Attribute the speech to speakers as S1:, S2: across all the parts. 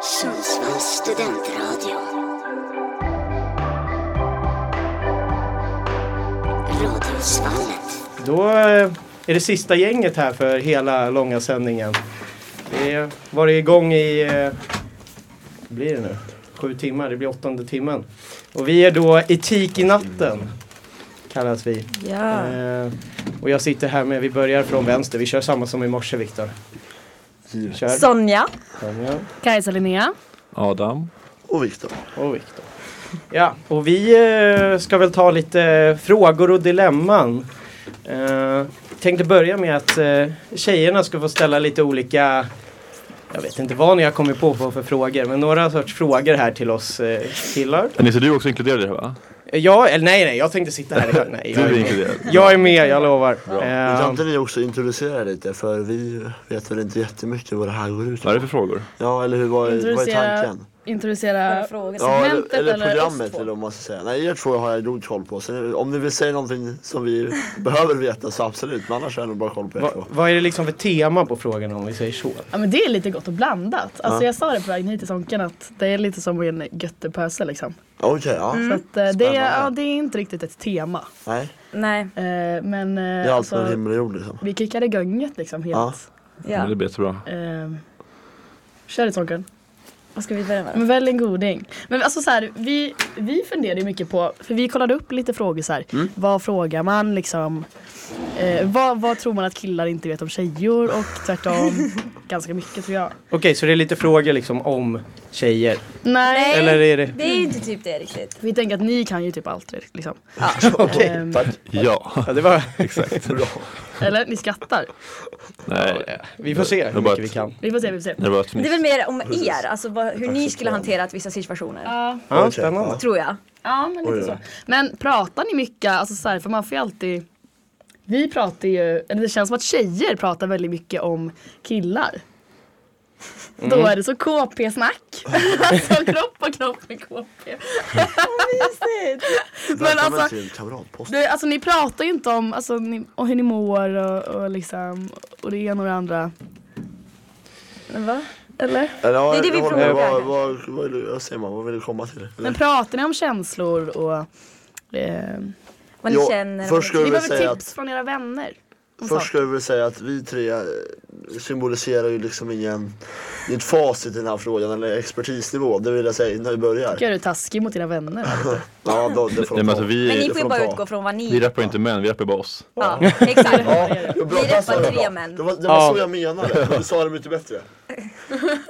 S1: Sundsvalls studentradio. Radiosvallet.
S2: Då eh, är det sista gänget här för hela långa sändningen. Vi har varit igång i, eh, vad blir det nu? Sju timmar, det blir åttonde timmen. Och vi är då Etik i natten, kallas vi.
S3: Ja.
S2: Eh, och jag sitter här med, vi börjar från vänster, vi kör samma som i morse Viktor. Kör.
S3: Sonja.
S2: Sonja
S4: Kajsa Linnea.
S5: Adam.
S6: Och Viktor.
S2: och Viktor. Ja, och vi eh, ska väl ta lite eh, frågor och dilemman. Eh, tänkte börja med att eh, tjejerna ska få ställa lite olika jag vet inte vad ni har kommit på för, för frågor, men några sorts frågor här till oss eh, killar.
S5: Nisse, du är också inkluderad i det här va?
S2: Ja, eller nej, nej, jag tänkte sitta här. i- Nej,
S5: Du
S2: jag,
S5: är
S2: är,
S5: inkluderad.
S2: jag är med, jag lovar.
S6: Men
S2: Eh,
S6: Kan inte ni också introducera lite? För vi vet väl inte jättemycket vad det här går ut
S5: Vad är det
S6: på.
S5: för frågor?
S6: Ja, eller hur? Vad är, vad är
S4: Introducera-
S6: tanken?
S4: Introducera
S6: Ja,
S4: segmentet
S6: eller, eller
S4: eller, oss
S6: programmet
S4: två.
S6: eller vad man ska säga. Nej, er två har jag god koll på. Sen, om ni vill säga någonting som vi behöver veta så absolut. Men annars har jag nog bara koll på er
S2: vad,
S6: två.
S2: vad är det liksom för tema på frågan om vi säger så?
S4: Ja men det är lite gott och blandat. Alltså
S6: Ja.
S4: jag sa det på vägen hit till Sonken att det är lite som en göttepöse liksom.
S6: Okej, ja.
S4: Så att eh, det,
S6: Spännande.
S4: är, ja, det är inte riktigt ett tema.
S6: Nej,
S3: Nej,
S4: Eh, men
S6: det
S4: eh,
S6: är allt mellan
S4: alltså,
S6: himmel och jord liksom.
S4: vi kickade igånget liksom helt.
S3: ja.
S5: Men
S6: Mm.
S5: det blir jättebra.
S4: Eh, kör det Sonken.
S3: Vad ska vi börja med?
S4: Men välj en goding. Men alltså så här, vi, vi funderade ju mycket på, för vi kollade upp lite frågor så här.
S6: Mm.
S4: Vad frågar man liksom? Eh, vad, vad tror man att killar inte vet om tjejor och tvärtom? ganska mycket tror jag.
S2: Okej, så det är lite frågor liksom om tjejer?
S4: Nej.
S2: Eller är det...
S3: Det är ju inte typ det riktigt.
S4: Vi tänker att ni kan ju typ allt liksom.
S2: Okej,
S4: Ehm,
S5: Ja.
S2: ja, det var...
S5: Exakt.
S4: eller ni skrattar.
S5: Nej.
S2: Vi får se hur
S5: Det var
S2: mycket
S5: ett-
S2: vi kan.
S4: Vi får se, vi får se.
S5: Det var ett
S3: Det är
S5: fniss.
S3: väl mer om er, alltså vad, hur ni skulle hanterat vissa situationer.
S4: Ja,
S2: Ja,
S6: Okej,
S2: spännande.
S3: Tror jag.
S4: ja men
S6: Oj,
S4: lite
S6: oj.
S4: så. Men pratar ni mycket, alltså så här, för man får ju alltid vi pratar ju, eller det känns som att tjejer pratar väldigt mycket om killar.
S6: Mm.
S4: Då är det så KP-snack. alltså kropp och kropp med KP. Men
S6: Välkommen
S4: alltså,
S6: till kamratposten.
S4: det, alltså ni pratar ju inte om alltså, ni, och hur ni mår och, och liksom och det ena och det andra.
S3: Men va? Eller?
S6: Eller, ja,
S3: det är det
S6: jag
S3: vi
S6: håller med.
S3: frågar.
S6: Vad, vad, vad, är det- vad säger man? Vad vill du komma till? Eller?
S4: Men pratar ni om känslor och ehm,
S3: Vad ni
S6: Jo,
S3: känner?
S6: först
S3: vad
S6: skulle
S3: ni
S4: Ni
S6: jag
S3: tycker.
S6: vill
S4: behöver
S6: säga
S4: tips
S6: att-
S4: från era vänner.
S6: Först
S4: om saker.
S6: skulle jag vilja säga att vi tre eh, symboliserar ju liksom ingen, inget facit i den här frågan eller expertisnivå. Det vill jag säga innan vi börjar.
S4: Gud, är du taskig mot dina vänner?
S6: Ja, då, det får
S5: Nej, men alltså
S3: Men ni
S5: vi,
S3: får ju
S6: de
S3: bara
S6: ta.
S3: utgå från vad ni...
S5: vi rappar inte män, vi rappar bara oss.
S3: Ja, exakt.
S6: Ja, bra,
S3: Vi
S6: där
S3: rättar
S6: sa jag
S3: tre
S6: bra.
S3: män.
S6: Det var, det var
S2: Ja.
S6: så jag menade. Du sa det mycket bättre.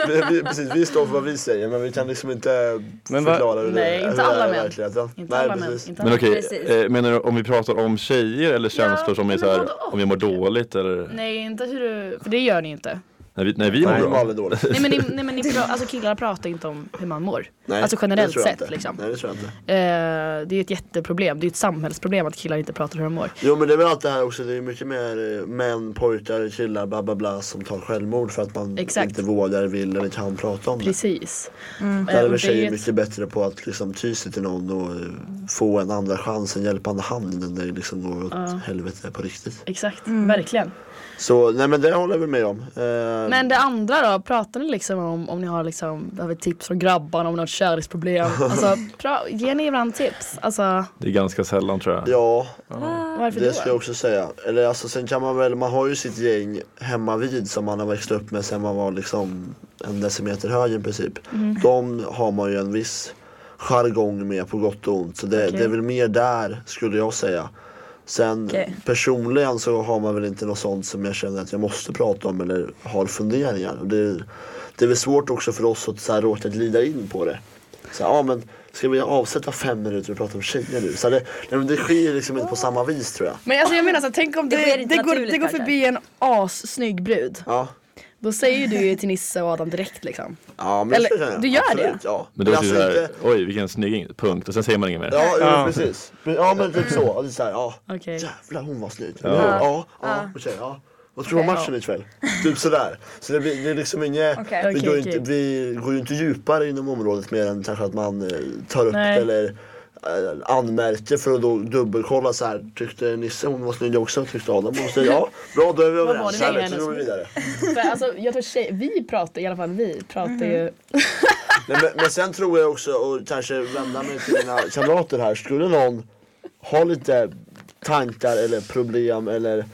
S6: Vi, vi, precis, vi står för vad vi säger men vi kan liksom inte
S2: Men vad-
S6: förklara hur
S4: Nej,
S6: det,
S4: inte
S6: hur det
S4: alla
S6: är i
S4: män.
S6: verkligheten.
S4: Inte
S6: Nej,
S4: alla män.
S6: precis.
S4: Inte alla.
S5: Men okej,
S3: Precis.
S5: eh, menar du om vi pratar om tjejer eller känslor som är
S4: men
S5: så här,
S4: både och.
S5: om vi mår dåligt eller? Nej,
S4: Nej, inte hur du... För det gör ni inte.
S5: vi, nej, vi mår
S6: Nej, det var
S5: bra.
S6: aldrig dåligt.
S4: Nej men, ni, nej, men ni pra- alltså, killar pratar inte om hur man mår.
S6: Nej,
S4: alltså
S6: det
S4: generellt
S6: tror jag
S4: sett
S6: inte.
S4: liksom.
S6: Nej, det tror jag inte.
S4: Eh, det är ju ett jätteproblem. Det är ju ett samhällsproblem att killar inte pratar hur de mår.
S6: Jo men det är väl allt det här också, det är mycket mer eh, män, pojkar, killar, bla bla bla som tar självmord för att man
S4: Exakt.
S6: inte vågar, vill eller kan prata om det.
S4: Precis. Eh,
S6: Där är väl
S4: och det är ju
S6: tjejer
S4: ett-
S6: mycket bättre på att liksom ty sig till någon och eh, få en andra chans, en hjälpande hand än det liksom går åt helvete på riktigt.
S4: Exakt, verkligen.
S6: Så nej men det håller jag väl med om. Eh,
S4: Men det andra då, pratar ni liksom om, om ni har liksom, behöver tips från grabbarna om något kärleksproblem? Alltså, pra- ger ni ibland tips? Alltså,
S5: Det är ganska sällan tror jag.
S6: Ja,
S4: varför
S6: det
S4: då?
S6: skulle jag också säga. Eller alltså sen kan man väl, man har ju sitt gäng hemma vid som man har växt upp med sen man var liksom en decimeter hög i princip. De har man ju en viss jargong med på gott och ont. Så det, det är väl mer där skulle jag säga. Sen
S3: Okej.
S6: personligen så har man väl inte något sånt som jag känner att jag måste prata om eller har funderingar. Och det, är- det är väl svårt också för oss att så här, råka glida in på det. Så här, ja, men ska vi avsätta fem minuter och prata om tjejer nu? Så här, det, nej, men det sker liksom inte på samma vis tror jag.
S4: Men alltså jag menar så här, tänk om
S3: Det
S4: det,
S3: sker
S4: det,
S3: inte
S4: går,
S3: naturligt
S4: det går
S3: kanske.
S4: förbi en assnygg brud.
S6: Ja,
S4: Då säger ju du ju till Nisse och Adam direkt liksom.
S6: ja men
S4: Eller,
S6: det skulle jag säga.
S4: du gör
S6: Absolut,
S4: det?
S6: Ja.
S5: Men då är det
S6: alltså,
S5: så här,
S6: inte-
S5: oj vilken snygging, punkt. Och sen säger man inget mer.
S6: Ja,
S2: Ja.
S6: ja. precis. Men- Ja men typ så. Och det är så här, ja.
S4: Okej.
S6: Jävlar hon var snygg. Ja. Ja, ja, okej, ja. Vad tror du om matchen ikväll? Typ sådär. Så det blir, det är liksom inget,
S3: Okej.
S6: vi,
S4: Okej,
S6: går ju
S4: okej.
S6: inte, vi går ju inte djupare inom området mer än kanske att man eh, tar upp
S4: Nej.
S6: eller eh, anmärker för att då dubbelkolla så här. Tyckte Nisse hon var snygg också? Tyckte Adam? Och säger ja, bra då är vi
S4: var
S6: överens.
S4: det
S6: Härligt,
S4: igen?
S6: nu går vi vidare.
S4: För, alltså, jag tror tjej, vi pratar, i alla fall vi pratar
S3: Mhm.
S4: ju...
S6: Nej, men, men sen tror jag också, och kanske vända mig till mina kamrater här, skulle någon ha lite tankar eller problem eller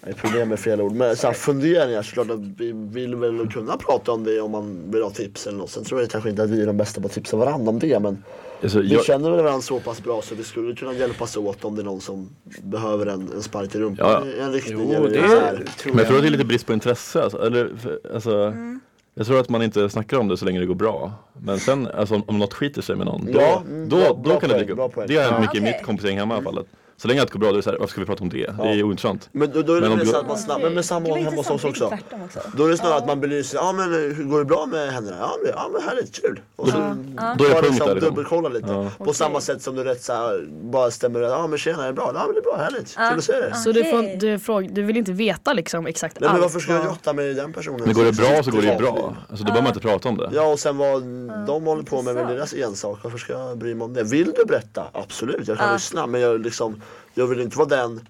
S6: nej, problem är fel ord, men så här, funderingar såklart att vi vill väl kunna prata om det om man vill ha tips eller något. Sen tror jag kanske inte att vi är de bästa på att tipsa varandra om det men
S5: Alltså,
S6: vi
S5: jag,
S6: känner väl varandra så pass bra så vi skulle kunna hjälpas åt om det är någon som behöver en, en spark i rumpan
S5: Ja, ja.
S6: i en riktning
S2: Jo,
S6: eller
S2: det
S6: så här.
S2: tror
S5: men jag tror att
S2: jag.
S5: det är lite brist på intresse. Alltså, eller, för- alltså,
S3: Mm.
S5: Jag tror att man inte snackar om det så länge det går bra. Men sen alltså, om, om något skiter sig med någon, då,
S6: Ja, mm,
S5: då,
S6: bra-
S5: då
S6: bra
S5: kan det
S6: poäng,
S5: dyka
S6: bra
S5: upp.
S6: poäng.
S5: Det har hänt
S2: Ja.
S5: mycket i
S3: Okej.
S5: mitt kompisgäng hemma i alla fall. Så länge allt går bra, då är det så här, varför ska vi prata om det? Det är ointressant.
S6: Men då, då är det
S5: Men om
S6: mer
S5: du-
S6: så att man snabbt, men med samordning hemma hos oss också.
S3: Tvärtom också.
S6: Då är det snarare att man belyser, ja men eh, hur går det bra med henne? Ja men, ja, men härligt, kul. Och så
S5: Då är det
S6: bara
S5: punkt
S6: liksom
S5: där liksom.
S6: dubbelkolla lite. På samma sätt som du rätt så här, bara stämmer över, ja men tjena är det bra? Ja men det är bra, härligt, kul att se dig.
S4: Så du, får,
S3: Okej.
S4: du, fråg, du vill inte veta liksom exakt
S6: Nej men
S4: allt
S6: varför ska jag
S4: vad-
S6: jotta med den personen?
S5: Men går det bra så går det ju
S6: Ja.
S5: bra. Alltså, då behöver man inte prata om det.
S6: Ja och sen vad de håller på med, med deras ensak, varför ska jag bry mig om det? Vill du berätta? Absolut, jag kan lyssna men jag, liksom, jag vill inte vara den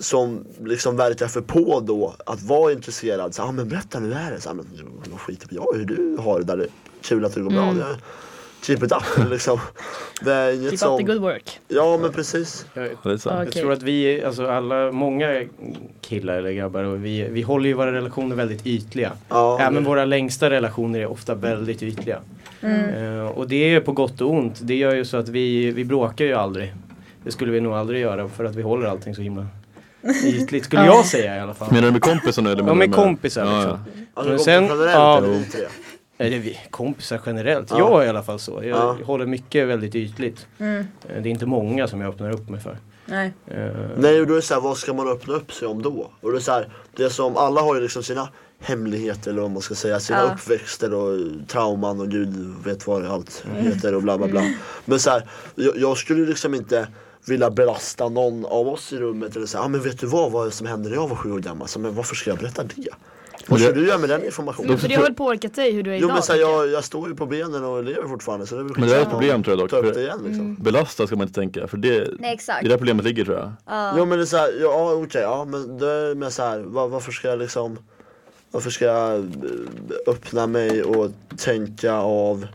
S6: som liksom verkar för på då att vara intresserad. Så, ah, men berätta nu är det. Så, ah, men, vad skiter jag i hur du har det där. Kul att det går bra. Det, keep it up liksom. Det är inget
S4: Mm. Keep up the good
S6: som...
S4: work.
S6: Ja men precis.
S2: Jag,
S5: Det är så. här.
S2: jag
S4: Okej.
S2: tror att vi, alltså alla, många killar eller grabbar, och vi, vi håller ju våra relationer väldigt ytliga.
S6: Ja,
S2: Även våra längsta relationer är ofta väldigt ytliga. Eh, och det är ju på gott och ont. Det gör ju så att vi, vi bråkar ju aldrig. Det skulle vi nog aldrig göra för att vi håller allting så himla ytligt skulle jag säga i alla fall.
S5: Menar du med kompisar nu? Eller menar
S2: med
S5: du
S2: kompisar,
S5: Ja,
S2: liksom.
S5: ja.
S6: alltså,
S2: men
S6: sen,
S2: sen-
S6: generellt
S2: ja.
S6: är det vi tre.
S2: Eller vi, kompisar generellt.
S6: Ja.
S2: Jag är i alla fall så. Jag
S6: Ja.
S2: håller mycket väldigt ytligt. Eh, Det är inte många som jag öppnar upp mig för.
S3: Nej.
S6: Mm.
S2: Eh,
S6: Nej och då är det så här, vad ska man öppna upp sig om då? Och det är så här, det som alla har ju liksom sina hemligheter eller vad man ska säga, sina
S3: Ja.
S6: uppväxter och trauman och gud vet vad det allt
S4: Mm.
S6: heter och bla bla bla. Men så här, jag, jag skulle liksom inte vilja belasta någon av oss i rummet eller säga, ah, men vet du vad, vad som hände när jag var sju år gammal? Så, men varför ska jag berätta det? Vad ska du göra med den informationen?
S4: Men för det har väl påverkat dig hur du är
S6: Jo
S4: idag?
S6: men så här,
S4: tänker
S6: jag, jag står ju på benen och lever fortfarande så det är väl
S5: Men det är ett
S6: skitsamma.
S5: problem tror jag dock.
S6: Ta upp det
S5: För
S6: igen liksom.
S5: belasta ska man inte tänka, för det,
S3: Nej, exakt.
S5: det är där problemet ligger tror jag.
S6: Jo men det är såhär, ja ja, okej, ja men då är det mer såhär, var, varför ska jag liksom Varför ska jag eh, öppna mig och tänka av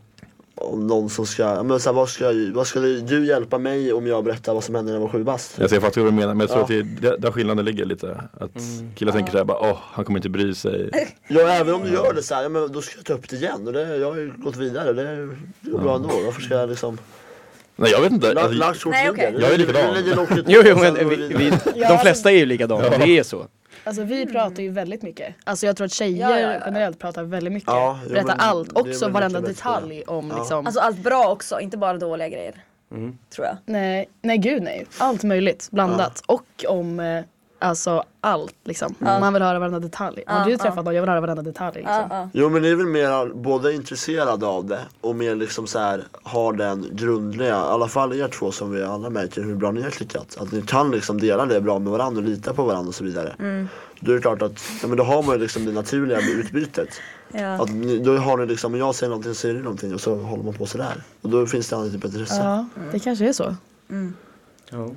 S6: om någon som ska, ja, men så här, vad, ska, jag- vad ska du hjälpa mig om jag berättar vad som hände när jag var sju bast?
S5: Alltså, jag fattar vad du menar, men jag tror
S6: Ja.
S5: att det är där- där skillnaden ligger lite. Att
S2: Mm.
S5: killar tänker såhär bara, åh, han kommer inte bry sig.
S6: Ja även om du gör det såhär, ja, men då ska jag ta upp det igen och det, jag har ju gått vidare, det är det är bra ändå. Varför ska jag liksom
S5: Nej jag vet inte.
S6: La-
S5: Alltså,
S6: Lagt kort
S3: Nej, okej.
S6: ligger.
S5: Jag är likadan.
S6: Du lägger locket på,
S2: Jo, jo
S6: sen går
S2: men vi,
S6: vidare.
S2: vi, de
S4: alltså-
S2: flesta är ju likadana. Det är så.
S4: jag. Alltså vi pratar ju väldigt mycket. Alltså jag tror att tjejer
S3: Mm. Ja, ja, ja.
S4: generellt pratar väldigt mycket.
S6: Ja, jo,
S4: Berättar
S6: men
S4: allt,
S6: det är väl
S4: också varenda
S6: mycket bättre.
S4: detalj om liksom.
S3: Alltså allt bra också, inte bara dåliga grejer.
S6: Mm.
S3: Tror jag.
S4: nej, nej gud nej. Allt möjligt blandat. Och om eh, alltså allt liksom. Man vill höra varenda detalj. Har du träffat någon, jag vill höra varenda detalj liksom.
S3: Ja,
S6: Jo men ni är väl mer både intresserade av det och mer liksom så här har den grundliga, i alla fall er två som vi alla märker hur bra ni har klickat. Att ni kan liksom dela det bra med varandra och lita på varandra och så vidare.
S4: Mm.
S6: Då är det klart att, ja, men då har man ju liksom det naturliga utbytet.
S3: ja.
S6: Att ni, då har ni liksom, om jag säger någonting så säger du någonting och så håller man på sådär. Och då finns det annat typ av intresse.
S4: Ja, det kanske är så.
S2: Ja.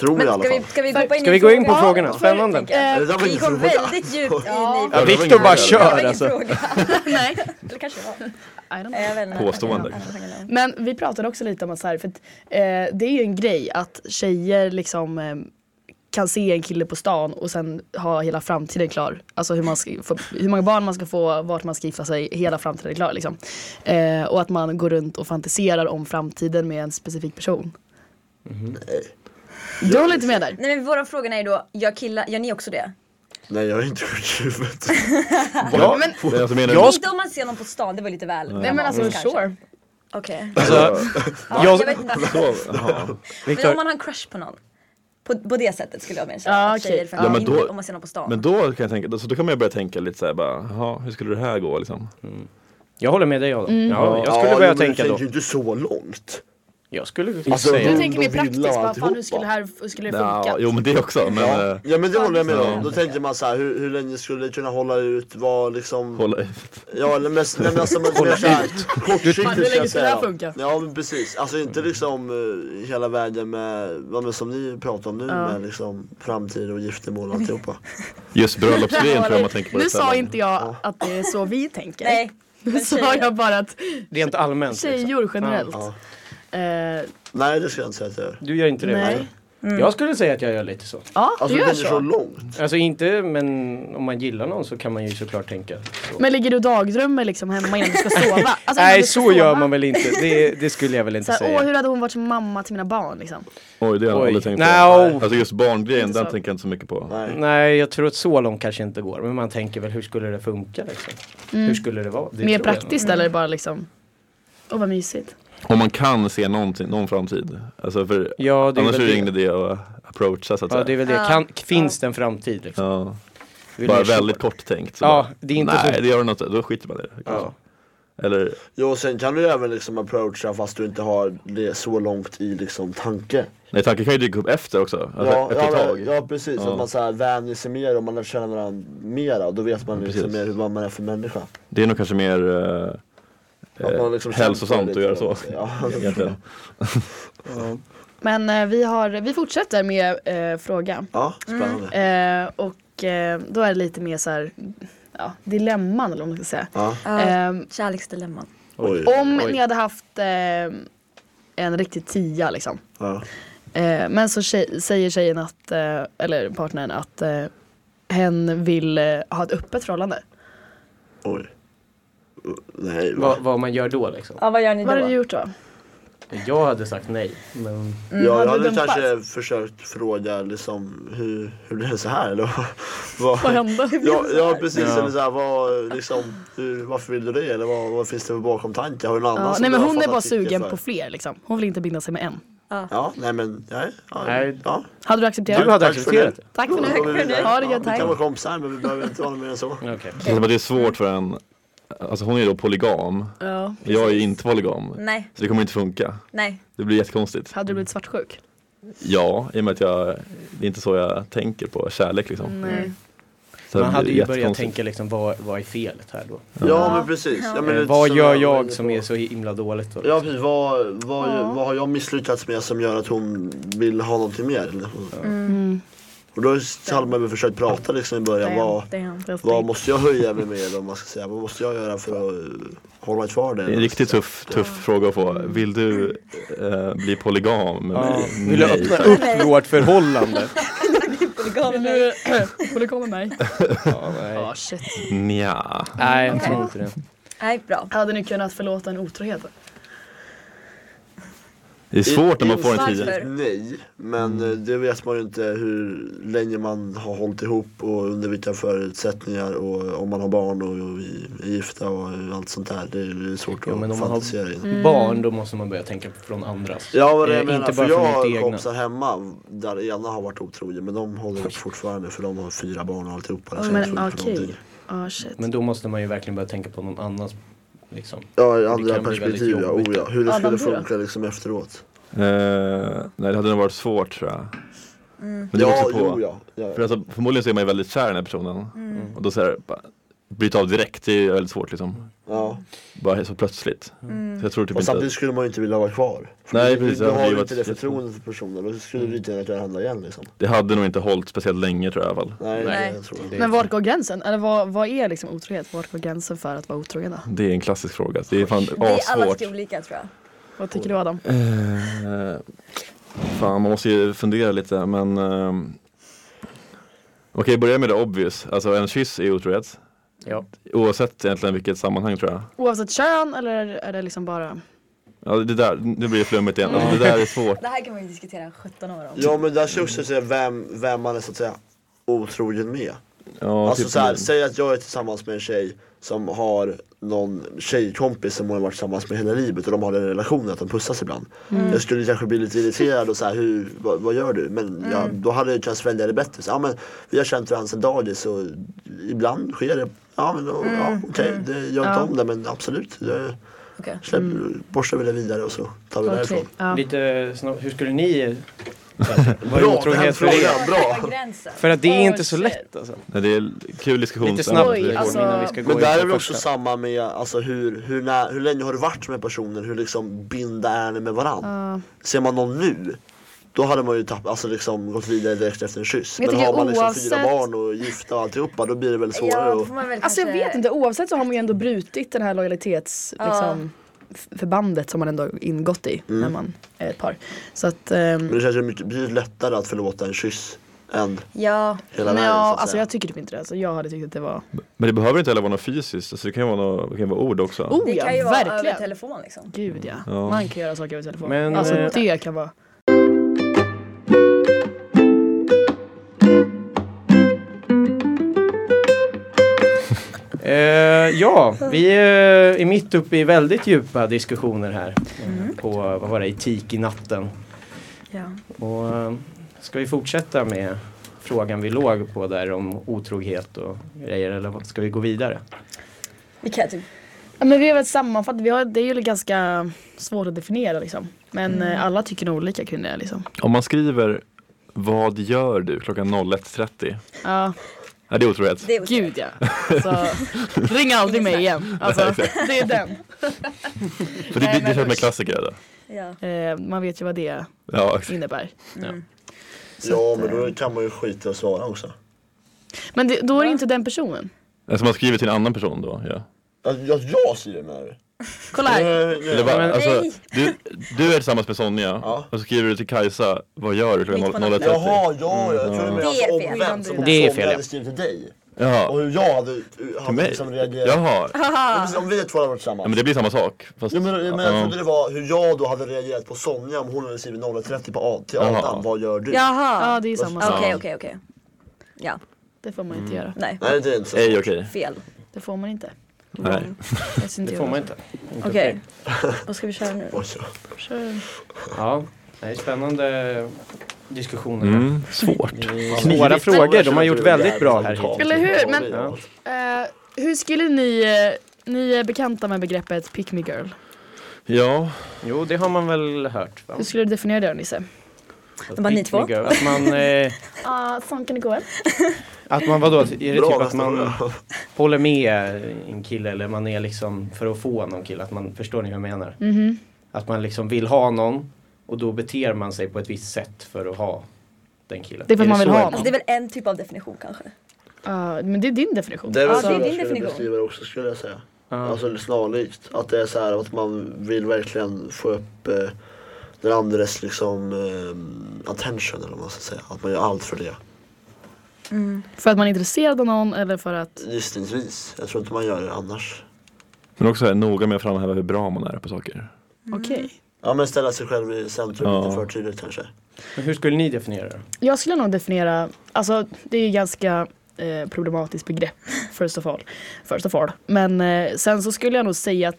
S6: Tror jag i
S3: Men
S6: alla
S3: ska vi,
S6: fall.
S3: ska vi hoppa in
S2: Ska
S3: i
S2: vi gå in på
S3: frågan?
S2: frågorna? Spännande.
S6: Eller det där var
S3: Vi
S6: ingen
S3: kom
S6: fråga.
S3: väldigt djupt in i
S2: Ja, Viktor bara kör alltså.
S4: Nej.
S3: Eller kanske det var.
S4: I don't know.
S3: Jag vet inte.
S5: Påstående.
S3: Jag vet inte.
S4: Men vi pratade också lite om att så här, för att, eh, det är ju en grej att tjejer liksom eh, kan se en kille på stan och sen ha hela framtiden klar. Alltså hur, man ska få, hur många barn man ska få, vart man ska gifta sig, hela framtiden är klar liksom. Eh, och att man går runt och fantiserar om framtiden med en specifik person. Du håller inte med där?
S3: Nej men våra frågor är ju då, gör killar, gör ni också det?
S6: Nej jag är inte sjuk i huvudet.
S5: ja, men, alltså, menar,
S2: jag-
S3: Inte om man ser någon på stan, det var lite väl
S4: Nej men alltså
S3: kanske.
S4: sure.
S3: Okej.
S2: Alltså,
S3: Ja,
S2: Jag-
S3: jag vet inte.
S5: så, ja.
S3: Men om
S2: Viktor,
S3: man har en crush på någon. På, på det sättet skulle jag mer säga.
S4: Ja,
S3: att
S4: okej.
S3: Tjejer för
S5: Ja, men då-
S3: om man ser någon på stan.
S5: men då kan jag tänka, alltså, då kan man ju börja tänka lite såhär bara, jaha, hur skulle det här gå liksom?
S2: jag håller med dig Adam. Ja, jag
S4: Mm.
S6: Ja,
S2: skulle
S6: jo,
S2: börja
S6: men du
S2: tänka då.
S6: tänker ju inte så långt.
S2: Jag skulle
S6: Alltså,
S2: säga...
S4: Jag
S6: Hund
S4: tänker mer
S6: och villa och
S4: praktiskt, vad fan, hur
S6: alltihopa.
S4: skulle det här hur skulle det funka?
S5: Ja, jo men det också. Men
S6: Ja.
S5: ja.
S6: ja men det håller jag med
S5: Eh, Ja.
S6: om. Då tänkte man så här, hur, hur länge skulle det kunna hålla ut? Vad liksom...
S5: hålla
S6: Ja eller mest, nej, men alltså men mer såhär kortsiktigt
S4: Fan, hur länge
S6: ska jag
S4: skulle det
S6: säga.
S4: här funka?
S6: Ja men precis, alltså inte liksom eh, hela vägen med, vad men som ni pratar om nu
S4: Ja.
S6: med liksom framtid och giftermål och alltihopa.
S5: Just bröllopsgrejen tror jag man tänker på
S4: nu
S5: det
S4: sa
S5: sällan.
S4: inte jag att det är så vi tänker.
S3: Nej.
S4: Nu sa jag bara att
S2: Rent allmänt. Liksom.
S4: tjejor generellt.
S6: Ja.
S4: Eh,
S6: Nej det ska jag inte säga att jag gör.
S2: Du gör inte det?
S4: Nej. Mm.
S2: va? Jag skulle säga att jag gör lite så.
S4: ja,
S6: Alltså
S4: du
S6: det
S4: gör
S6: är så
S4: så.
S6: långt.
S2: Alltså inte, men om man gillar någon så kan man ju såklart tänka så.
S4: Men alltså, ligger du och dagdrömmer liksom hemma innan du ska sova? Alltså, innan
S2: Nej,
S4: du ska
S2: så gör
S4: sova?
S2: man väl inte. Det, det skulle jag väl inte
S4: Så här,
S2: säga.
S4: Åh, hur hade hon varit som mamma till mina barn liksom?
S5: Oj, det har jag
S2: Oj.
S5: aldrig tänkt på.
S2: No.
S5: Alltså just barngrejen,
S4: Inte
S5: den
S4: så.
S5: tänker jag inte så mycket på.
S6: Nej.
S2: Nej, jag tror att så långt kanske inte går. Men man tänker väl, hur skulle det funka liksom? Hur skulle det vara? Det
S4: Mm. Mer
S2: tror jag Mm.
S4: praktiskt eller bara liksom? Åh vad mysigt.
S5: Om man kan se någonting, någon framtid. Alltså för
S2: nog. Ja, det är
S5: annars är
S2: väl
S5: det
S2: det.
S5: ingen idé att approacha så att
S2: Ja, det är
S5: säga.
S2: väl det.
S3: Ja.
S2: Kan, finns det en framtid? Liksom?
S5: Ja.
S2: Vill
S5: Bara
S2: du-
S5: väldigt kort tänkt. Så
S2: Ja,
S5: bara,
S2: det är inte
S5: nej,
S2: så-
S5: det gör något, då skiter man i det.
S2: Ja.
S5: Eller,
S6: Jo och sen kan du ju även liksom approacha fast du inte har det så långt i liksom tanke.
S5: nej, tanken kan ju dyka upp efter också. Alltså,
S6: Ja,
S5: efter
S6: ja,
S5: ett tag.
S6: men- ja precis,
S5: Ja.
S6: att man så här vänjer sig mer och man lär känna varandra mera och då vet man liksom
S5: precis.
S6: mer hur man är för människa.
S5: Det är nog kanske mer eh,
S6: Att man liksom
S5: eh,
S6: kämpar
S5: hälsosamt
S6: lite
S5: att göra
S6: för
S5: så.
S6: något. Ja.
S5: Egentligen.
S4: Men eh, vi, har, vi fortsätter med eh, frågan.
S6: Ja, spännande.
S4: Eh, och eh, då är det lite mer så här, ja, dilemman eller vad man ska säga.
S6: Ja.
S4: Eh,
S3: Kärleksdilemman.
S6: Oj.
S4: om
S2: Oj.
S4: ni hade haft eh, en riktig tia liksom.
S6: Ja.
S4: Eh, men så tjej, säger tjejen att, eh, eller partnern att eh, hen vill eh, ha ett öppet förhållande.
S6: Oj. Uh, Nej,
S2: Vad, vad man gör då liksom.
S3: Ja, vad gör ni
S4: Vad hade du
S3: då?
S4: gjort då?
S2: Jag hade sagt nej. Men...
S6: mm, jag
S4: hade du
S6: hade
S4: dumpat?
S6: kanske försökt fråga liksom hur, hur blev det så här? Eller vad,
S4: Vad hände?
S6: Ja, ja precis,
S2: Ja.
S6: eller så här, vad, liksom, hur, varför vill du det? Eller vad, vad finns det för bakomtanke? Har du någon annan
S4: Ja,
S6: som
S4: nej
S6: du
S4: men
S6: har
S4: hon är
S6: fattat
S4: bara
S6: tycke
S4: sugen
S6: för?
S4: på fler liksom. Hon vill inte binda sig med en.
S6: Ja, nej men, nej. Ja,
S2: Nej.
S6: Ja.
S4: Hade du
S2: Du
S4: accepterat?
S2: hade
S6: Tack för
S2: accepterat det?
S4: Tack för nu.
S6: Då går vi vidare.
S4: Ha det
S6: Ja,
S4: gött,
S6: Vi
S4: tack.
S6: kan vara kompisar men vi behöver inte vara mer än så.
S2: Okej.
S5: Det känns som att det är svårt för en, alltså hon är ju då polygam.
S4: Ja.
S5: Jag är ju inte polygam.
S3: Nej,
S5: Så det kommer inte funka.
S3: nej.
S5: Det blir jättekonstigt.
S4: Hade du blivit svartsjuk?
S5: Ja, i och med att jag, det är inte så jag tänker på kärlek liksom.
S6: Mm.
S4: Nej.
S5: Så det
S2: Man hade
S5: blir
S2: ju börjat
S5: jättekonstigt.
S2: tänka liksom, vad, vad är felet här då?
S6: Ja, men precis. Ja, men
S2: Eh,
S6: lite
S2: vad
S6: som
S2: gör
S6: var
S2: jag
S6: inne
S2: som
S6: på.
S2: är så himla dåligt då? liksom?
S6: Ja precis, vad, vad, vad har jag misslyckats med som gör att hon vill ha någonting mer? Eller? Mm. Och då hade man väl försökt prata liksom i början. Vad,
S3: Damn, damn.
S6: vad måste jag höja mig med eller vad man ska säga? Vad måste jag göra för att eh, hålla kvar det?
S5: Det är en riktigt tuff, tuff fråga att få. Vill du eh, bli polygam med
S2: Ja.
S5: mig?
S2: Vill du öppna
S5: tack.
S2: upp vårt förhållande?
S3: Polygamer, nej.
S4: Polygamer nej.
S2: ja, nej.
S4: Ja shit.
S5: Nja.
S2: nej, jag tror inte det.
S3: Nej, bra.
S4: Hade ni kunnat förlåta en otrohet? då?
S5: Det är svårt när man får en tid.
S3: Varför?
S6: Nej, men eh, det vet man ju inte hur länge man har hållit ihop och under vilka förutsättningar och om man har barn och är gifta och allt sånt där. Det är ju svårt
S2: Ja, men
S6: att
S2: om man har-
S6: fantisera in.
S2: Barn, då måste man börja tänka från andras.
S6: Ja vad det
S2: Eh,
S6: jag menar,
S2: inte
S6: för
S2: bara
S6: jag
S2: från mitt
S6: har
S2: egna.
S6: kompisar hemma där ena har varit otrogen men de håller upp fortfarande för de har fyra barn och alltihopa. så jag
S4: Men
S6: tror inte på
S4: okej.
S6: någonting.
S4: Ja shit.
S2: Men då måste man ju verkligen börja tänka på någon annans liksom.
S6: Ja, i
S2: Det
S6: andra
S2: kan bli
S6: perspektiv
S2: väldigt
S6: ja,
S2: jobbigt.
S6: oh, ja. Hur det
S4: Adam,
S6: skulle
S4: du då?
S6: funka liksom efteråt.
S5: Eh, nej, det hade nog varit svårt tror jag. Men det beror
S6: Ja,
S5: också på.
S6: jo ja. ja.
S5: För alltså, förmodligen så är man ju väldigt kär i den här personen.
S4: Mm.
S2: Mm.
S5: Och då såhär, bryta av direkt, det är väldigt svårt liksom.
S6: ja.
S5: Bara så plötsligt. Så jag tror
S6: Och
S5: typ inte
S6: samtidigt
S5: att,
S6: skulle man ju inte vilja vara kvar. För
S5: Nej,
S6: du,
S5: precis,
S6: Du,
S5: ja,
S6: du
S5: det
S6: har
S5: hade
S6: ju
S5: ju
S6: inte det
S5: varit-
S6: förtroendet för personen och då skulle du lite gärna kunna handla igen liksom.
S5: det hade nog inte hållit speciellt länge tror jag i alla fall.
S6: Nej,
S3: Nej.
S6: Det, jag tror jag.
S4: Men vart går gränsen? Eller vad, vad är liksom otrohet? Vart går gränsen för att vara otrogen då?
S5: Det är en klassisk fråga, det är fan
S3: Vi är alla
S5: assvårt.
S3: lite olika tror jag.
S4: Vad tycker du Adam?
S5: Eh, fan, man måste ju fundera lite men... ehm, Okej, börja med det obvious. Alltså en kyss är otrohet.
S2: Ja.
S5: Oavsett egentligen vilket sammanhang tror jag.
S4: Oavsett kön eller är det liksom bara?
S5: Ja, det där, nu blir det flummigt igen. Alltså, det där är svårt.
S3: Det här kan man ju diskutera 17 år om.
S6: Ja men där ska jag också säga vem, vem man är så att säga otrogen med.
S5: Ja,
S6: Alltså
S5: typ-
S6: så här, säg att jag är tillsammans med en tjej som har någon tjejkompis som hon har varit tillsammans med hela livet och de har den relationen att de pussas ibland. Jag skulle kanske bli lite irriterad och så här, hur, vad, vad gör du? Men ja, då hade jag kunnat svälja det bättre. Så, ja, men, vi har känt varandra sedan dagis och ibland sker det. Ja men och, ja, okej, det gör inte om det men absolut. Det,
S3: Okej.
S6: Släpp, Borstar vi det vidare och så tar vi därifrån.
S4: Ja.
S2: Lite snabbt, hur skulle ni... Vad är
S6: Bra, den här
S2: otrohet för er?
S6: frågan, bra!
S3: Gränsen.
S2: För att det är
S4: Oh,
S2: inte så
S4: shit.
S2: lätt alltså.
S5: Nej, det är kul diskussion.
S2: Lite snabbt
S4: Oj,
S2: rekord
S4: alltså-
S2: innan vi ska gå
S6: Men
S2: in
S6: där
S2: på
S6: är väl också
S2: första.
S6: samma med alltså, hur, hur, när, hur länge har du varit med personen, hur liksom binda är ni med varandra?
S4: Ja.
S6: Ser man någon nu, då hade man ju tappat, alltså, liksom, gått vidare direkt efter en kyss.
S4: Men jag
S6: Men
S4: tycker
S6: har man liksom fyra
S4: oavsett-
S6: barn och gifta och alltihopa, då blir det väl svårare.
S3: Ja, då
S6: Och...
S3: får man väl
S4: Alltså jag
S3: kanske-
S4: vet inte, oavsett så har man ju ändå brutit den här lojalitets
S3: Ja.
S4: liksom, f- förbandet som man ändå ingått i när man är ett par. Så att, ehm,
S6: Mm. Men det känns ju mycket betydligt lättare att förlåta en kyss än
S3: Ja.
S6: hela världen.
S4: men
S6: så
S4: jag,
S6: att
S4: alltså
S6: säga.
S4: jag tycker typ inte det. Alltså, jag hade tyckt att det var,
S5: Men det behöver inte heller vara något fysiskt, alltså, det kan ju vara, något, det kan vara ord också.
S4: oh
S3: Det
S4: ja,
S3: kan ju vara över
S4: verkligen.
S3: telefon liksom.
S4: Gud ja.
S5: Ja.
S4: man kan göra saker över telefon.
S2: Men,
S4: alltså
S2: eh,
S4: det kan vara.
S2: Eh, ja, vi eh, är mitt uppe i väldigt djupa diskussioner här.
S3: Mm.
S2: eh, På, vad var det, etik i natten.
S3: Ja.
S2: Och eh, ska vi fortsätta med frågan vi låg på där om otrohet och grejer eller vad- ska vi gå vidare?
S3: Vi kan typ...
S4: Ja, men vi har väl sammanfattat, vi har, det är ju ganska svårt att definiera liksom. Men eh, alla tycker nog olika kring det liksom.
S5: Om man skriver Vad gör du klockan 01.30?
S4: Ja,
S5: Ja, det är otroligt.
S3: Det är
S4: gud ja. Alltså, ring aldrig mig igen. Alltså, det är den.
S5: För det, det, det
S4: men
S5: känns med
S4: usch.
S5: klassiker. Det.
S3: Ja.
S4: Eh, man vet ju vad det
S5: Ja, exakt.
S4: innebär.
S6: Ja, men då kan man ju skita i att svara också.
S4: Men det, då är det inte den personen.
S5: Alltså man skriver till en annan person då. Ja.
S6: Ja, jag skriver med det.
S4: Kolla här.
S5: Eller bara,
S2: men-
S5: alltså,
S3: Nej.
S5: du, du är tillsammans med Sonja
S6: Ja.
S5: och så skriver du till Kajsa, vad gör du klockan
S3: Mitt på
S5: 01.30?
S3: natten.
S6: Jaha, ja, jag tror det
S4: Mm.
S3: Det
S6: var alltså
S3: är fel.
S6: omvänt. Som
S2: Det är
S6: som
S2: fel,
S6: jag
S2: ja.
S6: hade skrivit till dig. Och
S5: Ja,
S6: hur jag hade,
S5: till
S6: hade
S5: mig?
S6: liksom reagerat.
S5: Jaha,
S6: Ja, precis, Om vi två hade varit tillsammans.
S5: ja, men det blir samma sak. Fast,
S6: Jo, men, men jag
S5: ja.
S6: trodde det var hur jag då hade reagerat på Sonja om hon hade skrivit 01.30 på Ad, till
S5: Jaha.
S6: Adam, vad gör du?
S4: Ja,
S3: Jaha.
S4: det är ju samma
S3: Okej,
S4: sak.
S3: okej, okej. Ja,
S4: Det får man
S2: Mm.
S4: inte göra.
S3: nej.
S6: Nej det är inte så.
S5: Ej, okej.
S3: Fel.
S4: Det får man inte.
S5: Nej.
S4: Jag syns
S2: Det
S4: inte
S2: får
S4: göra.
S2: man inte. Inte
S3: Okej. Vad ska vi köra nu då?
S6: Oj, så.
S4: Kör.
S2: Ja, det är spännande diskussioner. här.
S5: Mm, svårt.
S2: Det är Svåra frågor, de har gjort väldigt bra här hittills.
S4: Eller hur? Men-
S6: Ja.
S4: Eh, hur skulle ni, eh, ni är bekanta med begreppet pick me girl.
S5: Ja,
S2: Jo, det har man väl hört. Va?
S4: Hur skulle du definiera det Nisse?
S2: Att
S3: Bara ni
S2: pick me
S3: två?
S2: girl, Att man, eh,
S4: Ja, sån kan det gå.
S2: att man vadå? Är det
S6: Bra,
S2: typ att
S6: nästa
S2: man
S6: fråga.
S2: håller med en kille eller man är liksom för att få någon kille? Att man, förstår ni hur jag menar?
S4: Mhm.
S2: Att man liksom vill ha någon och då beter man sig på ett visst sätt för att ha den killen.
S4: Det är för att man vill
S2: så
S4: ha
S2: en-
S4: någon.
S3: Alltså det är väl en typ av definition kanske?
S4: Ja, men det är din definition. Alltså,
S6: Det är väl
S3: Ja,
S6: så
S3: det är
S6: jag
S3: din
S6: skulle
S3: definition.
S6: beskriva det också skulle jag säga.
S2: Ja.
S6: Alltså snarlikt. Att det är så här att man vill verkligen få upp eh, den andres liksom eh, attention eller vad man ska säga. Att man gör allt för det.
S3: Mm.
S4: För att man är intresserad av någon eller för att...
S6: Gissningsvis. Jag tror inte man gör det annars.
S5: men också här, noga med att framhäva hur bra man är på saker.
S3: Mm.
S4: Okej.
S6: Ja men ställa sig själv i centrum
S5: Ja.
S6: lite för tydligt kanske.
S2: Men hur skulle ni definiera det?
S4: Jag skulle nog definiera, alltså det är ju ganska eh, problematiskt begrepp first of all. First of all. Men eh, sen så skulle jag nog säga att,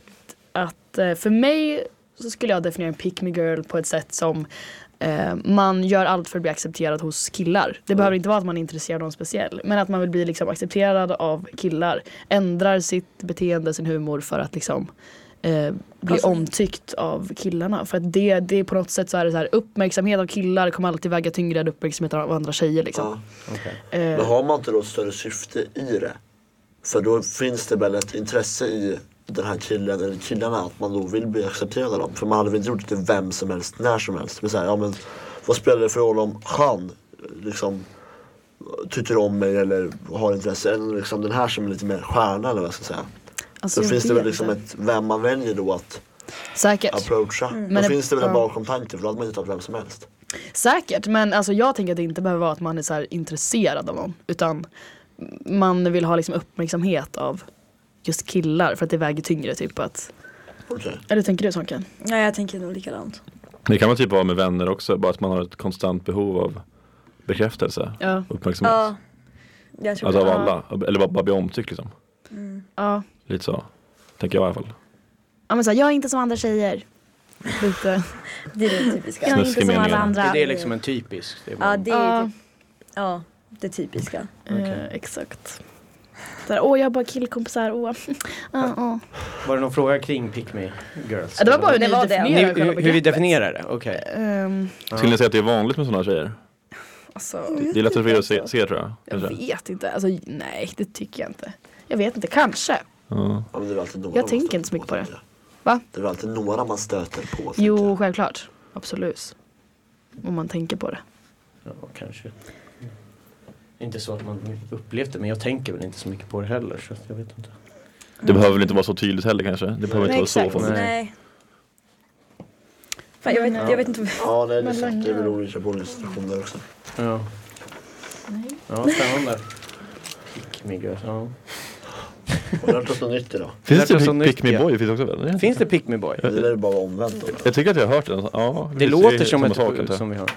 S4: att eh, för mig så skulle jag definiera en pick me girl på ett sätt som eh, man gör allt för att bli accepterad hos killar. Det behöver inte vara att man är intresserad av någon speciell. Men att man vill bli liksom, accepterad av killar. Ändrar sitt beteende, sin humor för att liksom eh, bli
S3: Alltså-
S4: omtyckt av killarna. För att det, det är på något sätt så är det så här uppmärksamhet av killar kommer alltid väga tyngre än uppmärksamhet av andra tjejer liksom.
S6: Ja.
S2: Okej.
S4: Eh,
S6: Men har man inte då ett större syfte i det? För då finns det väl ett intresse i den här killen eller killarna att man då vill bli accepterad av dem. För man hade väl inte gjort det till vem som helst, när som helst. Men så här, ja, men vad spelar det för roll om han liksom tycker om mig eller har intresse? Eller liksom den här som är lite mer stjärna eller vad jag ska säga.
S4: alltså,
S6: Då
S4: jag
S6: finns det
S4: vet
S6: väl liksom
S4: inte.
S6: ett, vem man väljer då att
S4: Säkert.
S6: approacha. Då
S4: Mm. Men det-
S6: finns det väl en
S4: ja.
S6: bakomtanke för då hade man inte tagit vem som helst.
S4: Säkert, men alltså, jag tänker att det inte behöver vara att man är så här intresserad av någon. Utan man vill ha liksom uppmärksamhet av just killar för att det väger tyngre. Typ att,
S6: Okej.
S4: eller tänker du Sonken?
S3: Nej, jag tänker nog likadant.
S5: Det kan man typ ha med vänner också, bara att man har ett konstant behov av bekräftelse,
S4: Ja.
S5: uppmärksamhet.
S3: Ja. Jag tror
S5: Alltså av
S3: det. Mm.
S5: alla, eller bara, bara bli omtyckt liksom.
S4: Ja.
S5: Lite så, tänker jag i alla fall.
S4: ja men så här, jag är inte som andra tjejer. Lite.
S3: Det är det typiska.
S5: är inte Snuskiga som alla meningar.
S2: Är det liksom en typisk? Det är
S3: Ja,
S2: man,
S3: det är
S4: Ja.
S3: typ, ja, det typiska.
S4: Eh, exakt.
S7: Så här, åh, jag har bara killkompisar. Åh. Ah, ah.
S2: Var det någon fråga kring Pick Me Girls?
S4: Det var bara hur
S3: Det
S4: ni
S3: var det.
S2: Ni,
S4: definierar själva
S2: hur, hur vi
S4: begreppet.
S2: definierar det? Okej.
S4: Ehm,
S5: Skulle ni säga att det är vanligt med sådana tjejer?
S4: alltså,
S5: Det är lättare för er att se, se tror jag.
S4: jag
S5: kanske.
S4: vet inte. Alltså, nej, det tycker jag inte. Jag vet inte, kanske.
S5: Ja.
S6: Ja, men det är väl alltid några
S4: Jag
S6: man
S4: tänker
S6: stöter
S4: inte så mycket på det.
S6: tänker jag.
S4: Va?
S6: Det är väl alltid några man stöter på. tänker
S4: Jo,
S6: jag.
S4: självklart. Absolut. Om man tänker på det.
S2: Ja, kanske. Inte så att man upplevt det, men jag tänker väl inte så mycket på det heller. Så att jag vet inte.
S5: Det behöver väl inte vara så tydligt heller kanske? Det behöver inte
S4: Nej,
S5: vara så
S4: exakt.
S5: farligt.
S3: Nej. Fan, jag, vet, jag vet inte.
S6: Ja, nej, det är sant. Det är väl olika på olika situationer också.
S2: Ja. Ja, spännande. Pick Me Girls, ja.
S6: Har du lärt oss något nytt idag?
S5: Finns
S2: Lärt oss
S5: det
S2: om
S5: typ Pick Me
S2: nyttja.
S5: Boy? Finns det också väl? Nej.
S2: Finns det Pick Me Boy?
S6: Det där är bara omvänt då.
S5: Jag tycker att jag har hört den. Ja,
S2: Det
S5: visst,
S2: låter
S5: är
S2: som
S5: samma
S2: ett
S5: sak,
S2: ord
S5: antar jag.
S2: som vi har.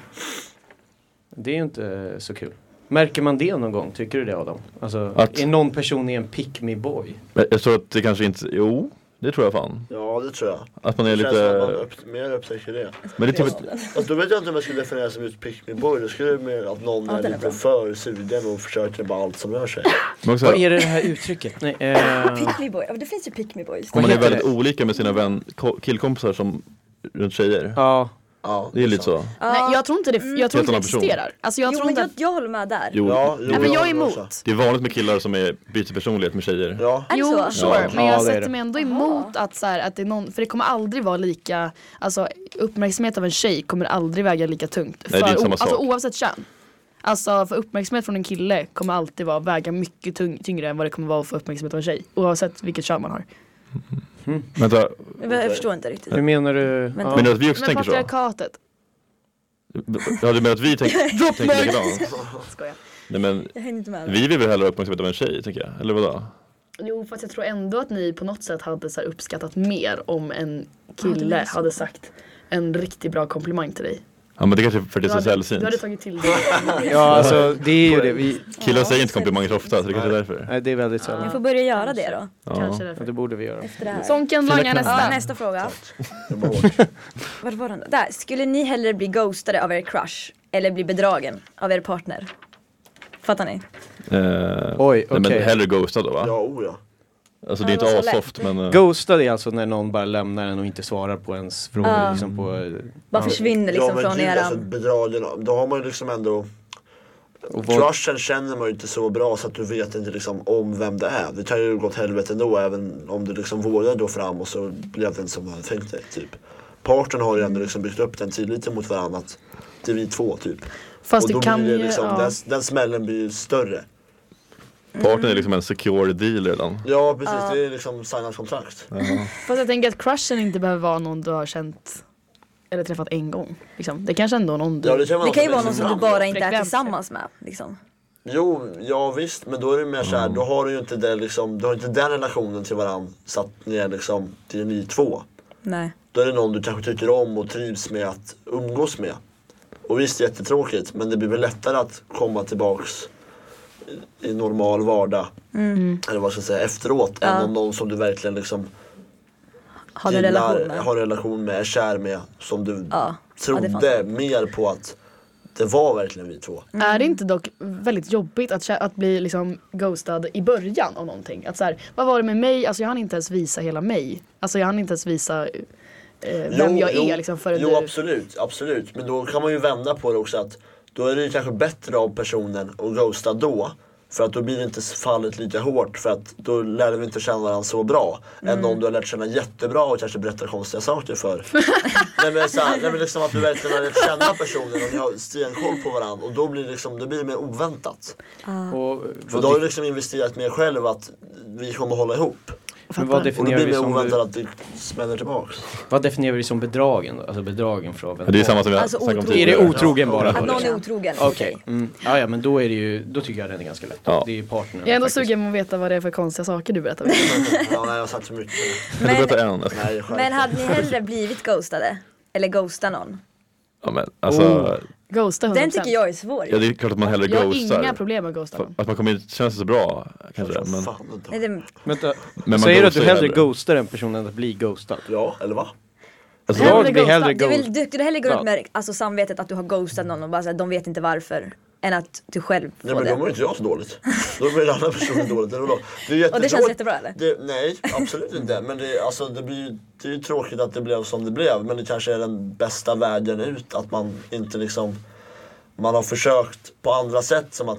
S2: Det är ju inte så kul. Märker man det någon gång? Tycker du det Adam? Alltså,
S5: Att-
S2: är någon person i en pick me boy?
S5: Men Jag tror att det kanske inte, jo, det tror jag fan.
S6: Ja, det tror jag.
S5: Att man är
S6: Det känns som att man
S5: lite,
S6: upp, mer upptäcker det.
S5: men det är typ,
S6: Alltså, då vet jag inte om jag skulle definiera som ut pick me boy. Då skulle det mer att någon
S3: Ja,
S6: är
S3: den är
S6: lite
S3: bra.
S6: för sugen och försöker bara allt som rör sig.
S5: men också,
S2: Vad
S5: här,
S2: är det det här uttrycket? Nej, eh,
S3: Pick me boy. Ja, Det finns ju pick me boys.
S5: om man är
S2: heter
S5: väldigt
S2: det?
S5: olika med sina vän, ko- killkompisar som runt tjejer.
S2: ja,
S6: Ja,
S5: Det är lite så.
S4: Nej, jag tror inte det, jag tror
S5: Helt
S4: inte det
S5: annan person.
S4: existerar. Alltså, jag
S3: jo,
S4: tror
S3: men
S4: inte
S3: jag,
S4: att,
S3: jag håller med där.
S5: Jo,
S6: Ja, jo,
S4: nej, men jag är
S6: jag också.
S4: emot.
S5: det är vanligt med killar som är, byter personlighet med tjejer.
S6: Ja,
S3: Är det
S4: Jo,
S3: så?
S4: sure.
S5: Ja.
S4: Men
S2: Ja,
S4: jag
S2: det är
S4: sätter
S2: det.
S4: mig ändå emot att, så här, att det är någon, för det kommer aldrig vara lika, alltså uppmärksamhet av en tjej kommer aldrig väga lika tungt.
S5: Nej, det är
S4: För
S5: inte
S4: o-
S5: samma
S4: alltså
S5: sak.
S4: oavsett kön. Alltså för uppmärksamhet från en kille kommer alltid vara, väga mycket tung, tyngre än vad det kommer vara för uppmärksamhet av en tjej. Oavsett vilket kön man har.
S5: Vänta,
S3: Men Jag förstår inte riktigt.
S2: hur menar du?
S3: Men-
S2: Ja.
S5: menar du att vi också
S4: Men
S5: tänker så?
S4: patriarkatet.
S5: Ja, du menar att vi tänker, tänker likadant?
S4: Skojar.
S5: Nej men,
S3: Jag hänger inte med.
S5: vi vill väl hellre ha uppmärksamhet av en tjej, tänker jag. Eller vadå?
S4: Jo fast jag tror ändå att ni på något sätt hade så här, uppskattat mer om en kille hade sagt en riktigt bra komplimang till dig.
S5: Ja men det kanske är för att det är så
S4: Du hade- Du hade
S5: sällsynt.
S4: tagit till dig.
S2: Ja, alltså det är ju det. Vi,
S5: Killar säger inte komplimanger så ofta, så det kanske är därför.
S2: nej, det är väldigt
S3: Jag
S2: sällan.
S3: får börja göra det då.
S5: Ja.
S4: Kanske därför.
S2: Ja, det borde vi göra.
S3: Efter det här.
S4: Sonken langar
S3: Ja,
S4: nästa.
S3: nästa fråga.
S6: det var hårt.
S3: Vart var den? då? Där. Skulle ni hellre bli ghostade av er crush eller bli bedragen av er partner? Fattar ni?
S5: Eh,
S2: Oj,
S5: nej, men
S2: okej.
S5: hellre ghostad då va?
S6: Ja, o ja.
S5: Alltså det är
S3: Ja, det
S5: inte
S3: var så
S5: assoft men... eh,
S2: Ghostad är alltså när någon bara lämnar en och inte svarar på ens frågor.
S4: Ah.
S2: Liksom på,
S3: Bara försvinner liksom
S6: ja, men
S3: från
S6: gud, alltså,
S3: eran...
S6: bedragen, då har man ju liksom ändå
S2: och vad,
S6: Crushen känner man ju inte så bra så att du vet inte liksom om vem det är. Det kan ju gå åt helvete ändå även om du liksom vågar gå fram och så blev det inte som du hade tänkt dig. Typ. Parten har ju ändå liksom byggt upp den tilliten mot varandra att det är vi två typ.
S4: Fast
S6: och då
S4: det kan
S6: blir
S4: ju...
S6: det liksom,
S4: ja.
S6: den, den smällen blir ju större.
S5: Partnern är liksom en secure deal redan.
S6: Ja precis, det är liksom signat kontrakt.
S4: Fast jag tänker att crushen inte behöver vara någon du har känt eller träffat en gång. Liksom. Det kanske ändå är någon du...
S6: Ja, kan, man
S3: Det
S6: också
S3: kan ju vara
S6: växa
S3: någon som du
S6: fram.
S3: bara inte är
S4: Frekvenser.
S3: tillsammans med. Liksom.
S6: Jo, ja visst, men då är det mer såhär, då har du ju inte, det, liksom, du har inte den relationen till varandra så att ni är liksom, det är ni två.
S3: Nej.
S6: Då är det någon du kanske tycker om och trivs med att umgås med. Och visst, jättetråkigt, men det blir väl lättare att komma tillbaks i- i normal vardag.
S3: Mm.
S6: Eller vad ska jag säga, efteråt. Än om någon som du verkligen liksom
S3: Har en relation med.
S6: har en relation med, är kär med. Som du
S3: Ja. Ja, det
S6: trodde
S3: fattar
S6: mer på att det var verkligen vi två.
S4: Är det inte dock väldigt jobbigt att, kä- att bli liksom ghostad i början av någonting? Att så här, vad var det med mig? Alltså jag hann inte ens visa hela mig. Alltså jag hann inte ens visa eh, vem jag är liksom förrän
S6: Jo
S4: du...
S6: absolut, absolut. Men då kan man ju vända på det också att då är det ju kanske bättre av personen att ghosta då. För att då blir det inte fallet lika hårt för att då lär vi inte känna varandra så bra.
S4: Mm.
S6: Än om du har lärt känna jättebra och kanske berättar konstiga saker för. nej men såhär,
S4: alltså-
S6: nej men liksom att du verkligen har lärt känna personen och ni har stenkoll på varandra. Och då blir det liksom, det blir mer oväntat.
S4: Ah.
S2: och,
S6: För då har
S2: vad,
S6: du liksom investerat mer själv att vi kommer hålla ihop.
S2: men vad,
S6: Och då blir
S2: definierar vi
S6: det
S2: som,
S6: oväntat att det smäller tillbaks.
S2: vad definierar vi som bedragen? då? Alltså bedragen från
S5: Det är samma som vi har
S3: Alltså,
S5: snackat om
S3: otroligt.
S2: Är det
S5: tidigare.
S2: otrogen bara? då,
S3: Att någon
S2: liksom?
S3: är otrogen.
S2: Okej, mm. ja, ja, men då är det ju, då tycker jag den är ganska lätt.
S5: Ja.
S2: Det är ju partnern.
S4: Jag är ändå
S2: faktiskt.
S4: sugen på att veta vad det är för konstiga saker du berättar. om.
S6: Ja, nej, jag har sagt så mycket.
S5: Kan du
S3: Men-
S5: berätta en?
S6: Nej, skärp
S3: Men
S6: er.
S3: hade ni hellre blivit ghostade? Eller ghosta någon?
S5: Ja, men, alltså,
S2: Oh.
S4: Ghosta 100%.
S3: Den tycker jag är svår.
S5: ja, det är klart att man hellre
S4: Alltså, Jag har inga
S5: ghostar.
S4: problem med att ghosta någon.
S5: Att man kommer inte känna sig så bra kanske. Men,
S6: Fan, vänta.
S3: Nej, det...
S2: Vänta,
S5: men man
S2: säger du att
S5: ghostar
S2: du
S5: ju
S2: hellre ghostar en person än att bli ghostad?
S6: Ja, eller va?
S5: Alltså,
S2: Jag
S5: jag,
S2: blir hellre
S3: Du
S2: ghost.
S3: vill du, du hellre gå ut med alltså, samvetet att du har ghostat någon och bara såhär, de vet inte varför. än att du själv får
S6: Nej men då
S3: det.
S6: mår inte jag så dåligt. Då mår den andra personen dåligt. Eller vadå? Det är
S3: Och det känns
S6: jättetråkigt.
S3: jättebra eller?
S6: Det, nej, absolut inte. Men det, är- alltså, det, blir, ju- det är ju tråkigt att det blev som det blev. Men det kanske är den bästa vägen ut. Att man inte liksom... Man har försökt på andra sätt som att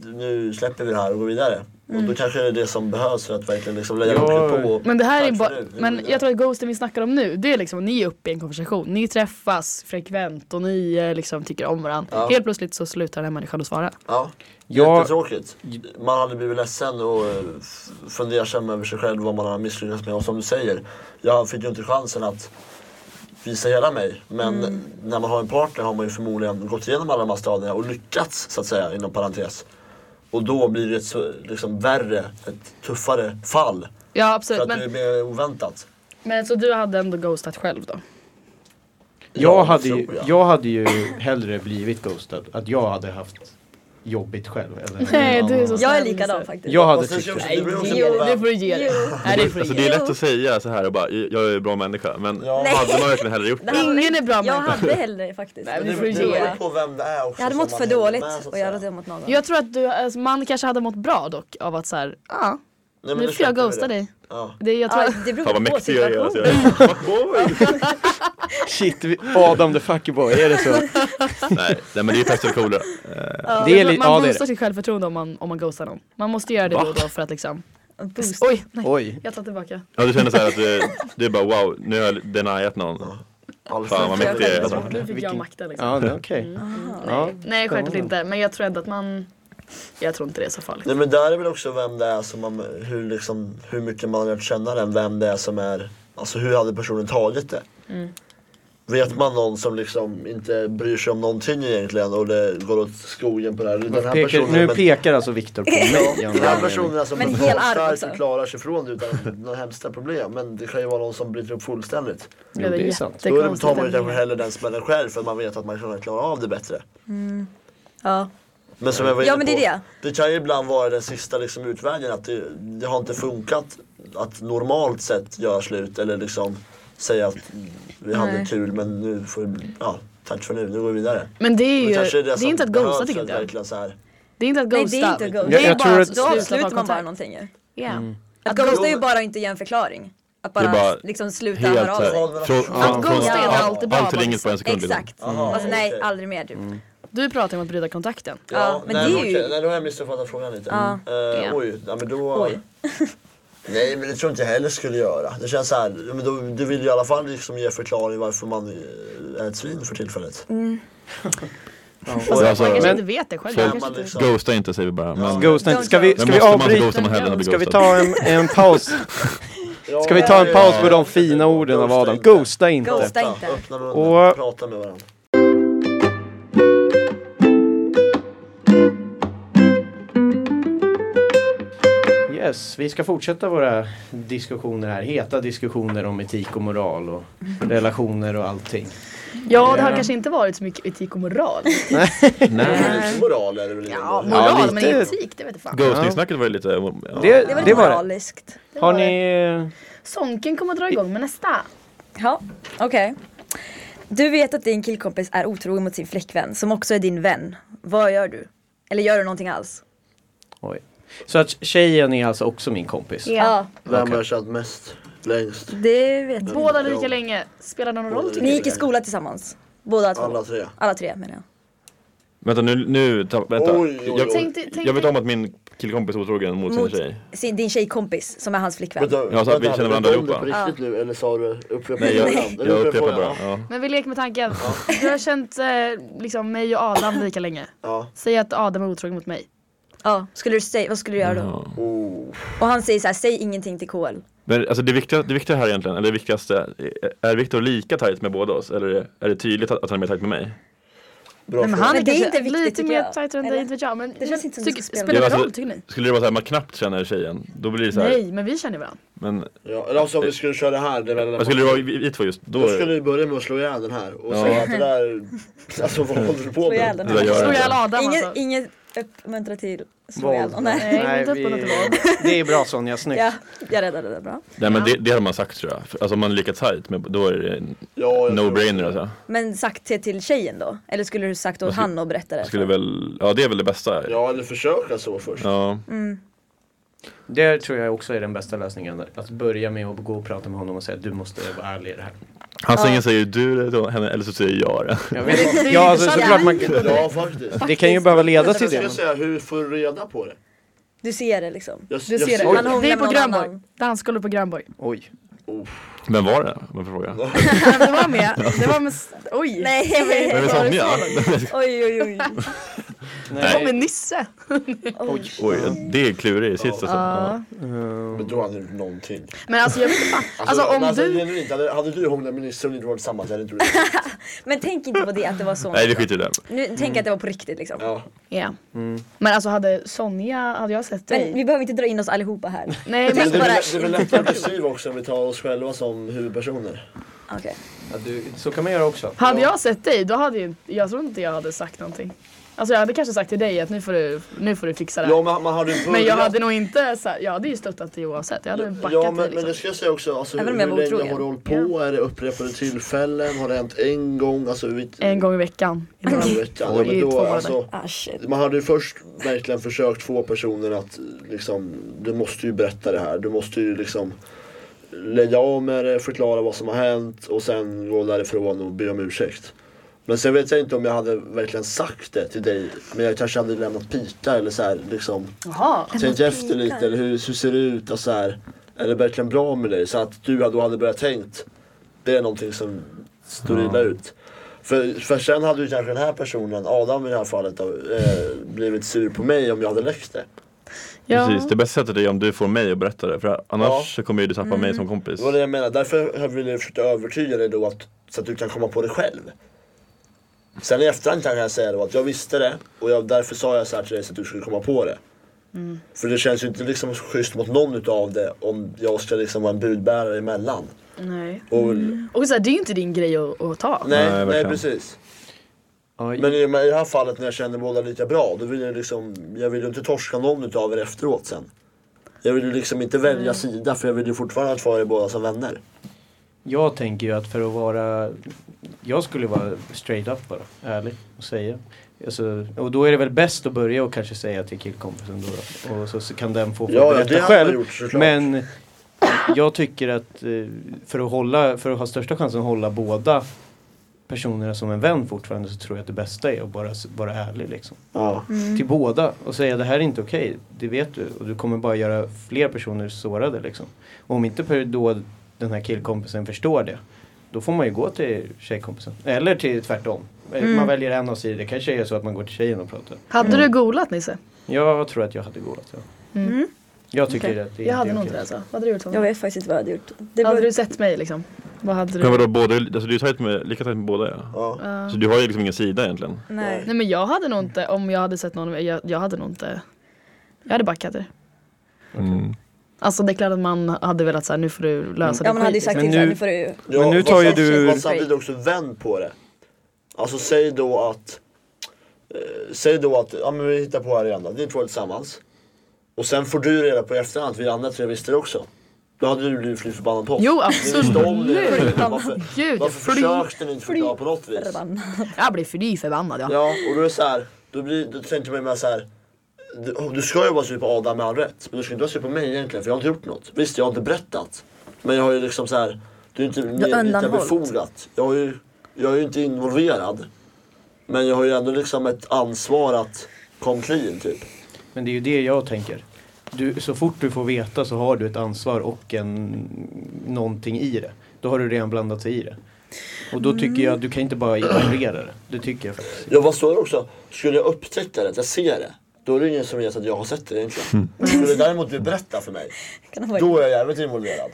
S6: nu släpper vi det här och går vidare. Och
S3: Mm.
S6: då kanske det är det som behövs för att verkligen liksom lägga
S2: Ja.
S6: locket på. och
S4: Men det här
S6: tack
S4: är
S6: för
S4: bara,
S6: nu, vi går
S4: men
S6: vidare.
S4: jag tror att ghosten vi snackar om nu, det är liksom, ni är uppe i en konversation, ni träffas frekvent och ni eh, liksom tycker om varandra.
S6: Ja.
S4: Helt plötsligt så slutar den här människan att svara.
S6: Ja,
S2: Ja.
S6: jättetråkigt. Man hade blivit ledsen och eh, f- fundersam över sig själv vad man har misslyckats med. Och som du säger, jag fick ju inte chansen att visa hela mig. Men när man har en partner har man ju förmodligen gått igenom alla de här stadierna och lyckats så att säga inom parentes. Och då blir det ett så- liksom värre, ett tuffare fall.
S4: Ja
S6: För
S4: absolut,
S6: att det är
S4: men,
S6: mer oväntat.
S4: men så du hade ändå ghostat själv då?
S2: Jag,
S6: Ja,
S2: hade ju,
S6: tror jag.
S2: jag hade ju hellre blivit ghostad. Att jag hade haft jobbigt själv. Eller
S4: Nej, du är så
S3: Jag är
S4: snäll,
S3: likadan
S4: Lisa.
S3: faktiskt.
S2: jag hade
S6: Fast det
S2: tyckt
S6: känns-
S2: det.
S6: det beror också
S3: Jo,
S6: på vem.
S4: Det får du ge dig. Nej det får
S5: Alltså
S4: du
S5: det
S4: ge
S5: är
S4: dig.
S5: lätt att säga så här och bara, jag är en bra människa. Men
S6: Ja. Nej.
S5: hade man verkligen hellre gjort
S3: Det
S5: det?
S3: här var-
S4: Ingen är bra
S3: Jag
S4: människa.
S3: hade hellre faktiskt.
S4: Nej, men
S6: Det
S4: det får du
S6: beror- det beror
S4: ge.
S6: på vem det är också.
S3: Jag hade
S6: som
S3: mått
S6: man
S3: för
S6: hänger
S3: dåligt
S6: med, så att
S3: och jag
S6: säga.
S3: hade mått någon annan.
S4: Jag tror att du, alltså, man kanske hade mått bra dock av att såhär, ja
S6: Nej, men
S4: nu får jag
S6: släpper vi
S4: ghosta
S6: det.
S4: dig.
S6: Ja.
S4: Det, är- jag tror
S3: Ja,
S4: att,
S3: det beror
S5: Fan vad
S3: på typ
S5: mäktig jag är.
S3: situationen.
S5: Alltså, jag är fuckboy.
S2: Shit, vi- Adam the fuckboy, är det så?
S5: nej, nej men det är faktiskt lite coolare.
S2: Det är
S4: man
S2: li- ja, det är
S4: boostar
S2: det.
S4: sitt självförtroende om man, om man ghostar någon. Man måste göra det då och då för att liksom,
S3: Boost.
S4: oj, nej,
S2: Oj.
S4: jag tar tillbaka.
S5: Ja, du känner så här att du, du är bara wow, nu har jag deniat någon.
S6: Alfred.
S5: Fan, vad mäktig jag är, alltså.
S4: Nu fick
S2: Vilken-
S4: jag makten liksom.
S2: Ja, det
S6: Mm.
S2: är okej. Ja.
S4: Nej självklart
S2: Spännande.
S4: inte, men jag tror ändå att man, jag tror inte det är så farligt.
S6: Nej men där är väl också vem det är som man, hur, liksom, hur mycket man har lärt känna den, vem det är som är, alltså hur hade personen tagit det? Vet man någon som liksom inte bryr sig om någonting egentligen och det går åt skogen på det här. Den här
S2: Pekar,
S6: personen,
S2: nu
S6: men-
S2: pekar alltså Viktor på mig.
S6: Ja,
S2: av
S6: den
S2: någon
S6: här
S2: anledning.
S6: personen är som
S3: Men
S6: är
S3: hel arm
S6: stark
S3: också.
S6: och klarar sig från det utan några hemska problem. Men det kan ju vara någon som bryter upp fullständigt.
S2: Jo, det är sant.
S6: Då är det- tar man ju kanske hellre den smällen själv för man vet att man kan klara av det bättre.
S3: Ja.
S6: Men som jag var
S3: Ja,
S6: inne
S3: men det är
S6: på, det kan ju ibland vara den sista liksom, utvägen att det, det har inte funkat att normalt sett göra slut eller liksom säga att vi hade
S3: Nej.
S6: kul men nu får vi, ja tack för nu, nu går vi vidare.
S4: Men det är
S6: Och
S4: ju, det,
S6: kanske
S4: är
S6: som
S4: inte att
S6: behövs för
S4: ghosta tycker
S6: att
S4: inte jag.
S6: verkligen så här.
S4: Det är inte att
S3: Nej
S4: ghosta.
S3: det är inte ghost.
S2: Jag-
S4: Det är
S2: jag
S4: bara
S2: tror
S4: att
S2: att-
S3: Då
S4: sluta
S3: avslutar
S4: ta
S3: man bara
S4: kontakt.
S3: någonting ju.
S4: Yeah.
S2: Mm.
S3: Att ghosta är ju bara inte ge en förklaring. Att bara,
S5: bara
S3: liksom sluta
S5: Helt
S3: höra av
S5: så
S3: sig.
S5: här, från, från, från,
S4: ghosta är
S5: allt-
S4: alltid bra,
S5: allt till
S4: bara
S5: inget på en sekund. liksom.
S3: Exakt. Alltså nej,
S6: okej.
S3: aldrig mer typ.
S4: Du pratar om att bryta kontakten.
S3: Ja, men
S6: nej,
S3: det är ju-
S6: okej, nej, då har jag missuppfattat frågan lite.
S3: Ja.
S6: Eh,
S4: Ja.
S6: Oj, ja, men då...
S3: Oj.
S6: nej, men det tror jag inte heller skulle göra. Det känns så här, ja, men då, du vill ju i alla fall liksom ge förklaring varför man eh, är ett svin för tillfället.
S4: Alltså,
S5: alltså,
S4: man kanske
S2: men-
S4: inte vet det själv.
S5: Folk-
S4: Man
S6: När
S4: kanske
S6: man
S4: inte...
S6: liksom-
S5: Ghosta inte säger vi bara. Men,
S2: Ghosta inte. Ska vi, ska
S5: men
S2: vi
S5: måste man inte
S2: avbryta?
S5: ghosta om man hellre blir
S2: Ska vi
S5: ghostad?
S2: ta en, en paus? Ska vi
S6: Eh,
S2: ta en paus på de fina orden av Adam? Ghosta inte.
S3: Ghosta
S6: Öppna,
S3: inte.
S6: öppna munnen,
S2: Och-
S6: prata med varandra.
S2: Yes, vi ska fortsätta våra diskussioner här. Heta diskussioner om etik och moral och relationer och allting.
S4: Ja, det har kanske inte varit så mycket etik och moral.
S6: Men lite moral är det väl
S4: Ja,
S6: ändå?
S4: moral,
S2: Ja,
S4: men
S2: lite-
S4: etik, det vet jag fan.
S5: Ghosting-snacket var ju lite... Ja.
S3: Det
S2: Det, det
S3: var lite
S2: var det.
S3: moraliskt.
S2: Har ni...
S4: Sonken kommer att dra igång med nästa.
S3: Ja, okej. Du vet att din killkompis är otrogen mot sin flickvän som också är din vän. Vad gör du? Eller gör du någonting alls?
S2: Oj. Så att tjejen är alltså också min kompis?
S3: Ja,
S6: Vem har kört mest? Längst?
S3: det vet jag.
S4: Båda lika länge, spelar det någon roll? tycker
S3: Ni gick i skola tillsammans? Båda två?
S6: Alla tre.
S3: Alla tre menar jag.
S5: Vänta nu, nu ta, vänta.
S6: Oj, oj, oj.
S5: Jag,
S4: Tänk dig- tänk
S5: jag vet
S4: dig-
S5: om att min killkompis är otrogen mot sin
S3: Mot
S5: tjej.
S3: sin, din tjejkompis som är hans flickvän.
S6: Vänta,
S5: Ja, så att vi
S6: vänta,
S5: känner
S6: vet
S5: varandra
S6: du om
S5: allihopa.
S6: det på riktigt nu eller sa du upprepa
S5: Nej, jag,
S6: frågan? Eller
S5: jag
S6: upprepa
S5: upprepar bara.
S6: frågan?
S5: Ja.
S4: Men vi leker med tanken. Du har känt eh, liksom mig och Adam lika länge.
S6: Ja.
S4: Säg att Adam är otrogen mot mig.
S3: Ja, skulle du säga, vad skulle du göra då?
S5: Mm.
S6: Oh.
S3: Och han säger så här, säg ingenting till KL.
S5: Men alltså det viktiga, det viktiga här egentligen, eller det viktigaste, är- är Viktor lika tajt med båda oss? Eller är- är det tydligt att, att han är mer tajt med mig?
S6: Bra
S4: men
S6: fråga.
S4: han är,
S3: Men det är
S4: kanske
S3: inte viktigt,
S4: lite
S3: tycker
S4: mer
S3: jag.
S4: tajtare än
S3: Eller?
S4: dig, inte vet jag. Men,
S3: känns
S4: men
S3: inte som
S4: tycker,
S3: det spelar
S4: spelar det
S5: någon
S4: roll
S5: roll.
S4: tycker ni?
S5: Skulle det vara så här, man knappt känner tjejen, då blir det så här.
S4: Nej, men vi känner varandra.
S5: Men
S6: Ja, eller alltså om vi skulle köra det här. Det
S5: vad
S6: väl,
S5: skulle det vara vi vi två just då?
S6: då skulle du börja med att slå ihjäl den här och säga att det där, alltså vad håller du på
S3: Slå ihjäl den
S6: med?
S5: Det där
S3: här.
S5: gör
S4: Slår
S5: jag
S4: ihjäl
S5: inte.
S4: Adam
S3: Ingen,
S4: alltså.
S3: ingen uppmuntra till slå ihjäl någon. Nej.
S4: Nej, inte
S2: vi-
S4: uppmuntra till våld.
S2: Det är bra Sonja, snyggt.
S3: Ja, jag räddade det bra.
S5: Nej men det, det hade man sagt tror jag. För- Alltså om man är lika tight, men då är det en
S6: Ja, jag tror-
S5: no-brainer alltså.
S3: Men sagt det till tjejen då? Eller skulle du sagt åt
S5: skulle-
S3: han att berätta det?
S5: Jag skulle väl, ja det är väl det bästa.
S6: Ja, eller försöka så först.
S5: Ja.
S2: Det tror jag också är den bästa lösningen. Att börja med att gå och prata med honom och säga du måste vara ärlig i det här.
S5: Antingen säger du det till henne eller så säger jag det.
S2: Jag vet, ja, alltså, såklart man,
S6: Ja, faktiskt.
S2: det kan ju behöva leda till
S6: Jag
S2: det.
S6: ska säga, hur får du reda på det?
S3: Du ser det liksom.
S6: Jag,
S4: Du
S6: jag
S4: ser det.
S3: såg det.
S4: det är på
S3: Någon
S4: Grönborg.
S3: annan.
S4: Dansgolvet på Grönborg.
S2: Oj.
S5: Vem var det? Varför frågar jag?
S4: det var med. Det var med. Oj.
S3: Nej,
S5: Vem är Sonja?
S3: oj oj oj.
S4: Det var
S5: Nej.
S4: med Nisse.
S3: oj.
S5: Oj, det är klurigt sist alltså. Ja.
S6: Men då hade du gjort någonting.
S4: Men alltså jag vet inte fan. Alltså
S6: men
S4: om du.
S6: genuint, hade, hade du hånglat med Nisse och ni inte varit tillsammans hade du inte gjort det.
S3: Men tänk inte på det att det var så.
S5: Nej vi skiter i det.
S3: Nu tänk att det var på riktigt liksom.
S6: Ja.
S4: Ja. Men alltså hade Sonja, hade jag sett dig?
S3: Men vi behöver inte dra in oss allihopa här.
S4: Nej
S6: Men
S4: men
S6: det, är väl,
S3: bara-
S6: det är väl lättare att beskriva också om vi tar oss själva som huvudpersoner.
S3: Okej.
S2: Ja, du, så kan man göra också.
S4: hade jag sett dig då hade ju, jag tror inte jag hade sagt någonting. Alltså jag hade kanske sagt till dig att nu får du, nu får du fixa det här.
S6: Ja, men man hade ju
S4: Men jag
S6: börjat-
S4: hade nog inte, så här, jag hade ju stöttat dig oavsett. Jag hade backat
S6: Ja men,
S4: dig
S6: men
S4: liksom.
S6: det ska jag säga också, alltså, hur,
S3: Även
S6: hur
S3: om jag var
S6: länge
S3: otrogen.
S6: har du hållit på? Är det upprepade tillfällen? Har det hänt en gång? Alltså, vi,
S4: En gång i veckan. I några
S6: i
S4: veckor.
S6: veckan? Ja,
S4: Oj,
S6: men
S4: två
S6: då,
S4: månader.
S6: alltså,
S3: Ah shit.
S6: man hade ju först verkligen försökt få personen att liksom, du måste ju berätta det här. Du måste ju liksom lägga av med det, förklara vad som har hänt och sen gå därifrån och be om ursäkt. Men sen vet jag inte om jag hade verkligen sagt det till dig. Men jag kanske hade lämnat pika eller så här, liksom.
S4: Jaha.
S6: Tänk efter lite, eller hur, hur ser det ut och så här. Är det verkligen bra med dig? Så att du då hade börjat tänkt, det är någonting som står illa ut. För, för sen hade ju kanske den här personen, Adam i det här fallet, då, eh, blivit sur på mig om jag hade läckt det.
S4: Ja.
S5: Precis, det bästa sättet är om du får mig att berätta det för annars
S6: Ja.
S5: så kommer ju du tappa mig som kompis.
S6: Det var det jag menade, därför har vi velat försöka övertyga dig då att, så att du kan komma på det själv. Sen i efterhand kan jag säga då att jag visste det och jag, därför sa jag så här till dig så att du skulle komma på det. För det känns ju inte liksom schysst mot någon utav det om jag ska liksom vara en budbärare emellan.
S4: Nej.
S6: Och,
S4: Och så här, det är ju inte din grej att, att ta.
S6: Nej,
S5: Nej,
S6: nej,
S5: verkligen.
S6: precis.
S2: Oj.
S6: Men i, men i det här fallet när jag känner båda lika bra, då vill jag liksom, jag vill ju inte torska någon utav er efteråt sen. Jag vill ju liksom inte välja sida för jag vill ju fortfarande ha kvar er båda som vänner.
S2: Jag tänker ju att för att vara... Jag skulle vara straight up bara, ärlig och säga. Alltså, och då är det väl bäst att börja och kanske säga till killkompisen då. Och så, så kan den få
S6: Ja, ja,
S2: berätta
S6: det hade man
S2: själv.
S6: gjort, såklart.
S2: men jag tycker att eh, för att, hålla, för att ha största chansen att hålla båda personerna som en vän fortfarande så tror jag att det bästa är att bara s- vara ärlig liksom.
S6: Ja.
S2: Till
S4: Mm.
S2: båda och säga det här är inte okej, det vet du. Och du kommer bara göra fler personer sårade liksom. Och om inte per- då den här killkompisen förstår det, då får man ju gå till tjejkompisen. Eller till tvärtom. Eh,
S4: Mm.
S2: Man väljer en av sidor, det kanske är så att man går till tjejen och pratar.
S4: Hade du golat Nisse?
S2: Jag tror att jag hade gått. Ja.
S4: Mm.
S2: Jag tycker
S4: Okej.
S2: att det
S4: Jag
S2: är
S4: hade
S2: inte
S4: nog
S2: är
S4: inte det
S2: okej.
S4: alltså. Vad hade du gjort
S3: Jag
S4: Tommy?
S3: vet faktiskt inte vad jag hade gjort. Det var...
S4: Hade du sett mig liksom? Vad hade
S5: Men
S4: du?
S5: vadå, både, alltså du är tajt med, lika tajt med båda ja.
S6: Ja.
S5: Så du har ju liksom ingen sida egentligen.
S3: Nej.
S4: Nej men jag hade nog inte, om jag hade sett någon, jag, jag hade nog inte Jag hade backat det.
S5: Mm.
S4: Alltså det är klart att man hade velat såhär, nu får du lösa
S3: Ja
S4: din
S3: man hade ju
S4: skit,
S3: sagt
S2: Men
S3: till såhär,
S2: nu-
S3: nu får du
S6: Ja,
S2: Men nu
S6: vad
S2: tar ju
S6: sam-
S2: du-
S6: vad samtidigt också vänd på det. Alltså säg då att... Eh, säg då att, ja men vi hittar på här igen då. Ni två är tillsammans. Och sen får du reda på i efterhand att vi andra tre visste det också. Då hade du blivit fly förbannad på oss.
S4: Jo
S6: Ni visste om det.
S4: absolut!
S6: Varför,
S4: Gud, jag
S6: varför
S4: fly,
S6: försökte ni inte förklara på något vis?
S3: förbannad.
S4: jag blir fly förbannad ja.
S6: Ja, och då är det så här, då, blir, då tänker man ju mer så här. Du, du ska ju vara sur på Adam med all rätt, men du ska inte vara sur på mig egentligen för jag har inte gjort något. Visst, jag har inte berättat. Men jag har ju liksom så här, det är ju inte mer- lika
S3: undanhållit.
S6: befogat. Jag, har ju, jag är ju inte involverad. Men jag har ju ändå liksom ett ansvar att kom clean typ.
S2: Men det är ju det jag tänker. Du, så fort du får veta så har du ett ansvar och en, någonting i det. Då har du redan blandat sig i det. Och då
S4: Mm.
S2: tycker jag att du kan inte bara ignorera det. Det tycker jag faktiskt.
S6: Jag var så också, skulle jag upptäcka det, att jag ser det. Då är det ingen som vet att jag har sett det egentligen. Skulle däremot du berätta för mig,
S3: Kan ha varit-
S6: då är jag jävligt involverad.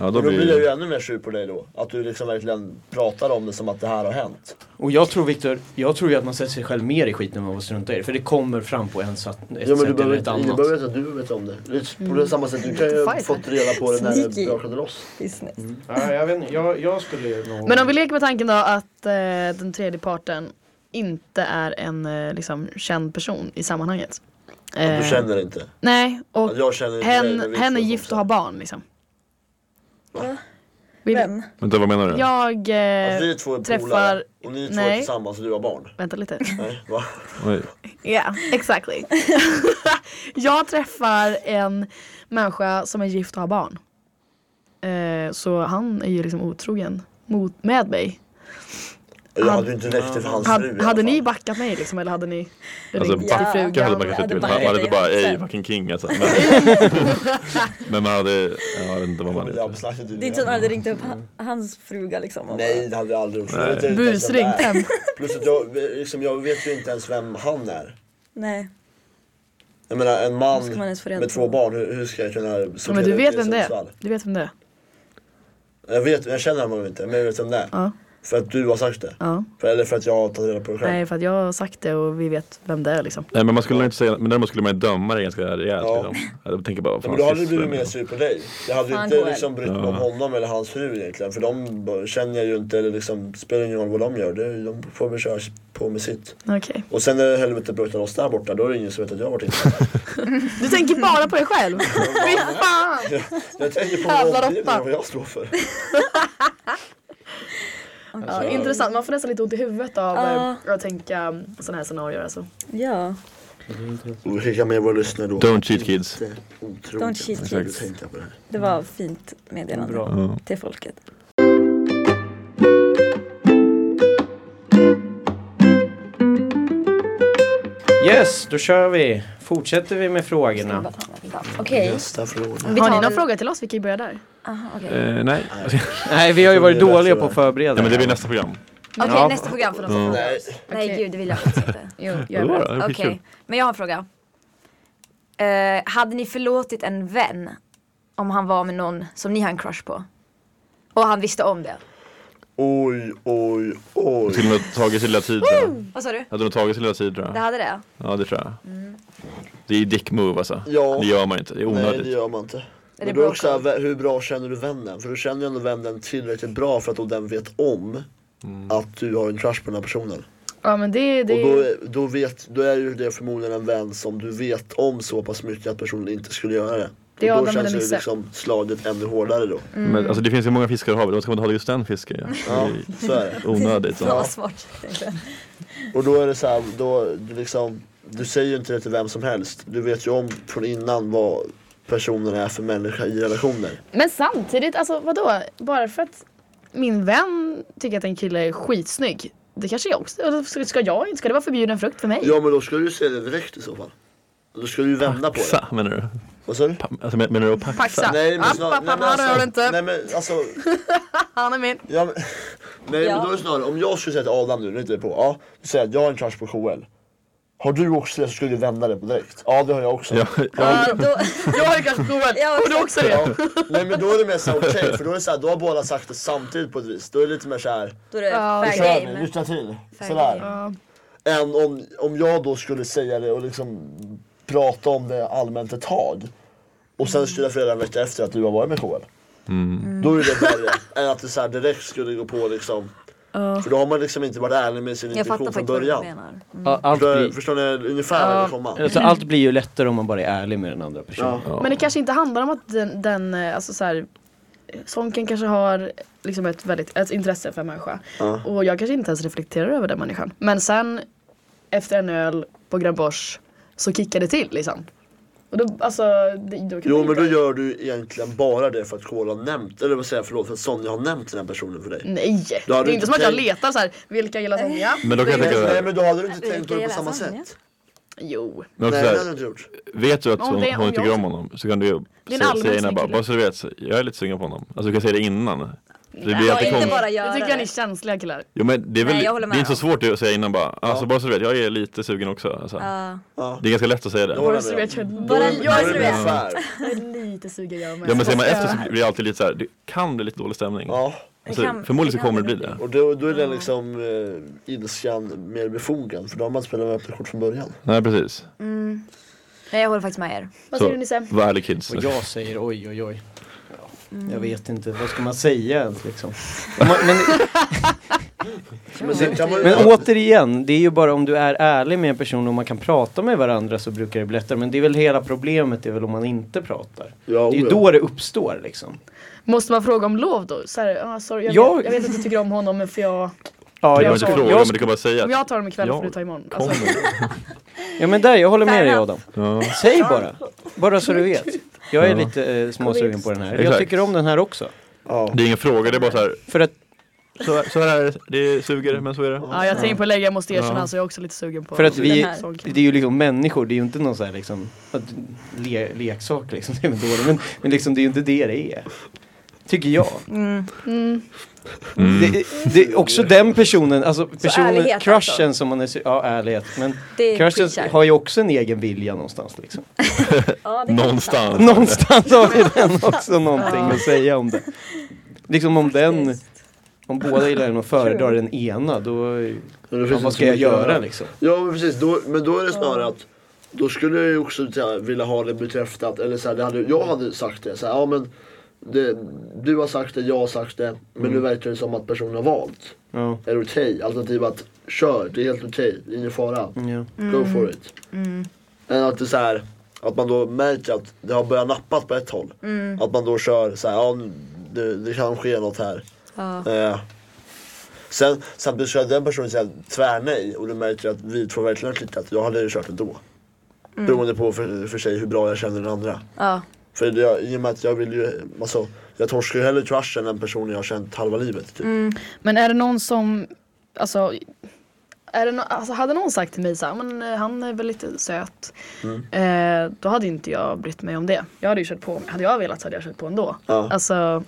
S5: Ja,
S6: Och
S5: då
S6: då blir jag ju
S5: blir
S6: ännu mer sur på dig då. Att du liksom verkligen pratar om det som att det här har hänt.
S2: Och jag tror Viktor, jag tror ju att man sätter sig själv mer i skiten än vad man struntar i det. För det kommer fram på en satt, ett
S6: Ja men du
S2: sätt eller
S6: behöver
S2: ett
S6: inte,
S2: annat.
S6: du behöver inte att du vet om det. det är på det samma sätt, du kan ju ha
S4: Fight.
S6: fått reda på det när det
S3: Sneaky.
S6: brakade loss.
S3: business.
S6: Mm.
S2: Ja, jag, vet, inte. jag, jag skulle nog...
S4: Men om vi leker med tanken då att eh, den tredje parten inte är en eh, liksom, känd person i sammanhanget.
S6: Du
S4: Eh,
S6: känner inte?
S4: Nej, och
S6: Att Jag känner inte dig, men
S4: hen,
S6: vi
S4: hen är
S6: får
S4: gift och
S6: kompisar.
S4: har barn liksom.
S3: Va?
S4: Vill-
S3: Vem?
S5: Vänta, vad menar du?
S4: Jag...
S6: Att
S4: Eh,
S6: Alltså, vi två är
S4: träffar-
S6: polare och ni två är
S4: Nej.
S6: tillsammans och du har barn?
S4: vänta lite.
S6: Nej, va?
S5: Oj.
S4: Ja, exactly. jag träffar en människa som är gift och har barn. Eh, så han är ju liksom otrogen mot, med mig.
S6: Jag
S4: Han-
S6: hade ju inte räckt till för hans
S4: Had,
S6: fru i alla
S4: hade ni
S6: fall.
S4: backat mig liksom eller hade ni
S5: Alltså,
S4: ringt
S5: backa-
S4: till frugan?
S5: Kanske man kanske
S3: hade
S5: inte vill.
S3: bara-
S5: Man hade inte bara
S3: Nej.
S5: ey fucking king alltså. Men, men man hade, jag vet inte vad man hade
S6: Jag
S5: gjort.
S6: beslagtog
S3: Det är inte så att man hade ringt upp ha- hans fruga liksom. och
S6: Nej det hade jag aldrig gjort. Jag vet inte ens vem
S4: Busringt
S6: det är.
S4: hem.
S6: Plus att jag, liksom, jag vet ju inte ens vem han är.
S3: bara- Nej.
S6: Jag menar en man
S3: Hur ska man ens få reda
S6: med
S3: på
S6: två
S3: det?
S6: barn, hur, hur ska jag kunna
S4: Ja,
S6: sortera
S4: men du
S6: ut
S4: vet
S6: i
S4: vem det är.
S6: Sundsvall?
S4: Du vet vem det är.
S6: Jag vet, jag känner honom inte men jag vet vem det är.
S4: Ja.
S6: För att du har sagt det.
S4: Ja.
S6: För, eller för att jag har tagit reda på det själv.
S4: Nej för att jag har sagt det och vi vet vem det är liksom.
S5: Nej men man skulle nog inte säga, men däremot skulle man ju döma det ganska rejält
S6: Ja.
S5: liksom. Jag tänker bara, vad
S6: Ja,
S5: fan
S6: men då hade det
S5: sysslar
S6: blivit
S5: med?
S6: mer sur på dig. Jag hade ju
S3: Fan,
S6: inte
S3: Joel.
S6: liksom brytt mig om honom eller hans fru egentligen. För de b- känner jag ju inte, eller liksom spelar ingen roll vad de gör. Det- De får väl köra på med sitt.
S4: Okej.
S6: Och sen när helvetet bryter loss där borta, då är det ingen som vet att jag har varit inne.
S4: Du tänker bara på dig själv. Fy fan.
S6: Jag tänker på
S4: Jävla
S6: min omgivning
S4: råtta.
S6: och vad jag står för. alltså.
S4: Ja, intressant, man får nästan lite ont i huvudet av
S3: Ja.
S4: eh, att tänka sådana här scenarier alltså.
S3: Ja.
S6: Och skicka med våra lyssnare då.
S5: Don't cheat kids.
S6: Det är otroligt.
S3: Don't cheat,
S6: Jag tänkte
S3: kids.
S6: tänka på det här.
S3: Det var
S6: Mm.
S3: fint meddelande
S2: Bra.
S5: Ja.
S3: till folket.
S2: Yes, då kör vi. Fortsätter vi med
S3: Ska vi
S2: frågorna.
S3: bara ta en lapp? Okej.
S6: Nästa fråga.
S3: Vi
S4: Har
S3: tar
S4: ni någon
S3: väl-
S4: fråga till oss? Vi kan ju börja där.
S3: Aha, okej.
S5: Eh, nej.
S2: Nej, vi har ju varit
S6: Det är dags
S2: dåliga
S6: för
S2: på
S6: det.
S2: att förbereda.
S5: Ja men det blir
S2: här.
S5: nästa program.
S3: Okej,
S2: Ja.
S3: nästa program för de som
S5: Ja.
S3: frågar.
S6: Nej,
S3: Nej
S4: Okej.
S3: gud, det vill jag faktiskt inte.
S4: Jo,
S5: Ja,
S4: gör
S5: det var
S4: det.
S5: det. Det var
S3: Okej,
S5: skitkul.
S3: men jag har en fråga. Eh, hade ni förlåtit en vän om han var med någon som ni har en crush på? Och han visste om det?
S6: oj, oj, oj.
S5: Till och med tagit sin lilla tid tror jag.
S3: Vad sa du?
S5: Hade nog tagit sin lilla tid tror
S3: Det Mm.
S5: jag.
S3: hade det?
S5: Ja det tror jag. Det är ju dick move alltså.
S6: Ja.
S5: Det gör man ju inte, det är
S6: Nej det
S5: onödigt.
S6: gör man inte.
S3: det
S6: Men då är det också
S3: broken?
S6: såhär, hur bra känner du vännen? För du känner ju ändå vännen tillräckligt bra för att då den vet om att du har en crush på den här personen.
S4: Ja men det, det
S6: Och då, är- då, vet, då är ju det förmodligen en vän som du vet om så pass mycket att personen inte skulle göra det.
S4: Det är
S6: och
S4: Adam
S6: då känns
S4: eller
S6: ju
S4: Nisse.
S6: liksom slaget ännu hårdare då.
S3: Mm.
S5: Men alltså det finns ju många fiskar i havet, då ska man ta just den fisken ja.
S6: Ja,
S5: Det
S6: Mm. så är det.
S5: är onödigt.
S3: Fan
S5: Ja.
S3: vad smart.
S6: Och då är det så här, då du liksom, du säger ju inte det till vem som helst. Du vet ju om från innan vad personen är för människa i relationer.
S4: Men samtidigt, alltså vadå? Bara för att min vän tycker att en kille är skitsnygg. Det kanske jag också, eller ska- ska jag inte? Ska det vara förbjuden frukt för mig?
S6: Ja men då ska du ju säga det direkt i så fall. Då ska du ju vända på det.
S5: Paxa menar du?
S6: Vad sa du?
S5: Pa- Alltså men- menar du att paxa?
S4: Paxa.
S6: Nej men,
S4: App,
S6: snar,
S4: app,
S6: nej,
S4: app,
S6: men
S4: Ah, han rör
S6: alltså,
S4: inte.
S6: nej men alltså,
S4: Han är min.
S6: ja, men, nej
S3: Ja.
S6: men då är det snarare, om jag skulle säga till Adam nu, nu är inte det på, ja, du säger jag att jag har en crush på Joel. Har du också det så skulle du vända det på direkt. Ja det har jag också.
S5: Ja,
S3: Ja, då,
S4: Jag har kanske Joel.
S3: Ja,
S4: Och du också det.
S6: Ja, nej men då är det mer såhär okej, för då är det såhär, då har båda sagt det samtidigt på ett vis. Då är det lite mer såhär,
S3: då är det
S4: Ja,
S6: nu
S3: fair
S6: kör vi,
S3: game.
S6: lyssna till.
S3: Fair
S6: Sådär.
S3: game.
S4: Ja.
S6: Än om, om jag då skulle säga det och liksom prata om det allmänt ett tag. Och sen skulle jag flera veckor efter att du har varit med Joel. Då är det värre än att du så här direkt skulle gå på liksom. För då har man liksom inte varit ärlig med sin
S3: Jag fattar
S6: intention från
S3: faktiskt vad du
S6: början.
S3: menar.
S2: Ja, Allt
S6: Förstår,
S2: blir,
S6: förstår ni ungefär vad jag vill komma?
S2: alltså, allt blir ju lättare om man bara är ärlig med den andra personen.
S4: Men det kanske inte handlar om att den, den eh, alltså så här, eh, Sonken kanske har liksom ett, väldigt, ett intresse för en människa. Och jag kanske inte ens reflekterar över den människan. Men sen efter en öl på Grönborgs så kickar det till liksom. Och då, alltså, det, då kan
S6: Jo
S4: man
S6: men då
S4: inte-
S6: gör du egentligen bara det för att Joel har nämnt, eller vad säger jag förlåt, för att Sonja har nämnt den här personen för dig.
S3: Mm.
S4: Nej! Det
S6: hade
S4: är
S6: inte
S4: inte som att jag
S6: tänkt-
S4: letar så här, vilka gillar Sonja?
S5: Men då kan jag
S6: Nej,
S5: tänka,
S6: nej men då hade du inte
S3: Ulrika
S6: tänkt på det på
S3: gillar
S6: samma
S3: Sonja.
S6: sätt.
S4: Jo.
S5: men också
S6: Nej
S5: så
S6: det
S5: här,
S6: hade du inte gjort.
S5: Vet du att
S4: Om
S5: hon,
S4: det-
S5: hon
S4: om
S5: inte
S4: jag-
S5: tycker om honom så kan du ju
S4: en
S5: säga,
S4: allmänt
S5: säga innan
S4: snygg
S5: bara,
S4: kille.
S5: bara så du vet, så jag är lite sugen på honom. Alltså du kan säga det innan. Det blir
S3: Ja,
S5: jättekonstigt.
S3: inte bara
S4: Jag
S3: göra
S4: tycker att ni är
S3: det.
S4: känsliga killar.
S5: Jo men det är väl,
S3: Nej, jag
S5: det
S3: håller
S5: är
S3: med.
S5: inte så svårt att säga innan bara, alltså bara så du vet, jag är lite sugen också. Alltså.
S3: Ja.
S6: Ja.
S5: Det är ganska lätt att säga det.
S6: Ja.
S4: Bara så vet jag
S6: Då
S3: Bara-
S6: är,
S4: jag
S6: då är
S3: så
S6: det
S3: du
S6: mer
S3: vet.
S6: fair.
S4: är lite sugen jag med.
S5: Ja men säger man efter så blir det alltid lite såhär, det kan bli lite dålig stämning.
S6: Ja.
S5: Alltså,
S3: Det kan-
S5: förmodligen
S3: det
S5: så
S3: kan
S5: kommer det
S3: bli
S5: bli det.
S6: Och då, då är den liksom eh, ilskan mer befogad för då har man spelat med öppna kort från början.
S5: Nej precis.
S3: Mm. Nej, jag håller faktiskt med er.
S4: Vad
S5: Så,
S4: säger du Nisse?
S5: Vad ärlig kids.
S2: Och jag säger oj, oj, oj.
S3: Mm.
S2: Jag vet inte, vad ska man säga ens liksom? Men, men,
S6: Men sen kan man ju...
S2: Men återigen, det är ju bara om du är ärlig med en person och man kan prata med varandra så brukar det bli lättare. Men det är väl hela problemet, det är väl om man inte pratar.
S6: Ja,
S2: Det är ju
S6: oja.
S2: då det uppstår liksom.
S4: Måste man fråga om lov då? Så här, ah, sorry, jag,
S2: Jag-
S4: Vet, jag vet att du tycker om honom men för jag,
S2: Ja,
S5: Du
S2: jag,
S5: kan inte
S4: jag-
S5: fråga
S2: jag-
S5: men du kan bara säga
S4: om
S5: att
S4: jag tar dem ikväll
S5: Ja,
S4: får du ta imorgon.
S5: kom
S4: Alltså,
S2: ja men där, jag håller med
S3: Fair
S2: dig
S3: enough.
S2: Adam.
S5: ja.
S2: Säg bara. Bara så du vet. Jag är
S5: Ja.
S2: lite eh, småsugen på den här. Jag
S5: Exakt.
S2: tycker om den här också.
S6: Ja.
S5: Det är ingen fråga, det är bara så här.
S2: För att
S5: Så, så här är det, det suger men så är det.
S4: ja, jag tänkte på att lägga, jag måste erkänna,
S5: Ja.
S4: alltså, jag är också lite sugen på
S2: För att vi,
S4: den här. Såg.
S2: det är ju liksom människor, det är ju inte någon så här liksom, att le, leksak liksom, det är väl dåligt, men, men liksom det är ju inte det det är. Tycker jag.
S3: Mm.
S4: Mm.
S5: Mm.
S6: Mm.
S2: Det, det är också den personen, alltså personen,
S3: ärlighet
S2: crushen
S3: alltså.
S2: som man är, så- ja ärlighet, men
S3: Det är
S2: crushen
S3: preacher.
S2: har ju också en egen vilja någonstans liksom.
S3: Ja, det kan
S5: Någonstans.
S2: Någonstans har ju den också någonting att säga om det. Liksom om den, om båda gillar den och föredrar den ena, då,
S6: Men det finns
S2: ja,
S6: inte
S2: vad
S6: så
S2: ska jag
S6: mycket att
S2: göra liksom?
S6: Ja men precis, då, men då är det snarare att då skulle jag ju också så här, vilja ha det bekräftat. Eller så här, det hade, jag hade sagt det. Så här, ja, men det. Du har sagt det, jag har sagt det. Men
S2: Mm.
S6: nu verkar det som att personen har valt.
S2: Ja,
S6: Är det okej? Alternativt att kör, det är helt okej. Det är ingen fara.
S2: ja.
S4: Mm.
S6: Go for it. Än att det är så här, att man då märker att det har börjat nappat på ett håll.
S4: Mm.
S6: Att man då kör så här, ja nu- det, det kan ske något här.
S3: Ja.
S6: Eh, sen samtidigt så att den personen säger tvärnej och du märker att vi två verkligen har klickat. Jag hade ju kört ändå.
S4: Mm.
S6: Beroende på för, för sig hur bra jag känner den andra.
S3: Ja.
S6: För jag, i och med att jag vill ju, alltså jag torskar ju hellre crushen än personen jag har känt halva livet. Typ.
S4: Mm. Men är det någon som, alltså, är det no- alltså hade någon sagt till mig så här, men eh, han är väl lite söt. Eh, då hade inte jag brytt mig om det. Jag hade ju kört på, hade jag velat så hade jag kört på ändå.
S6: Ja.
S4: Alltså,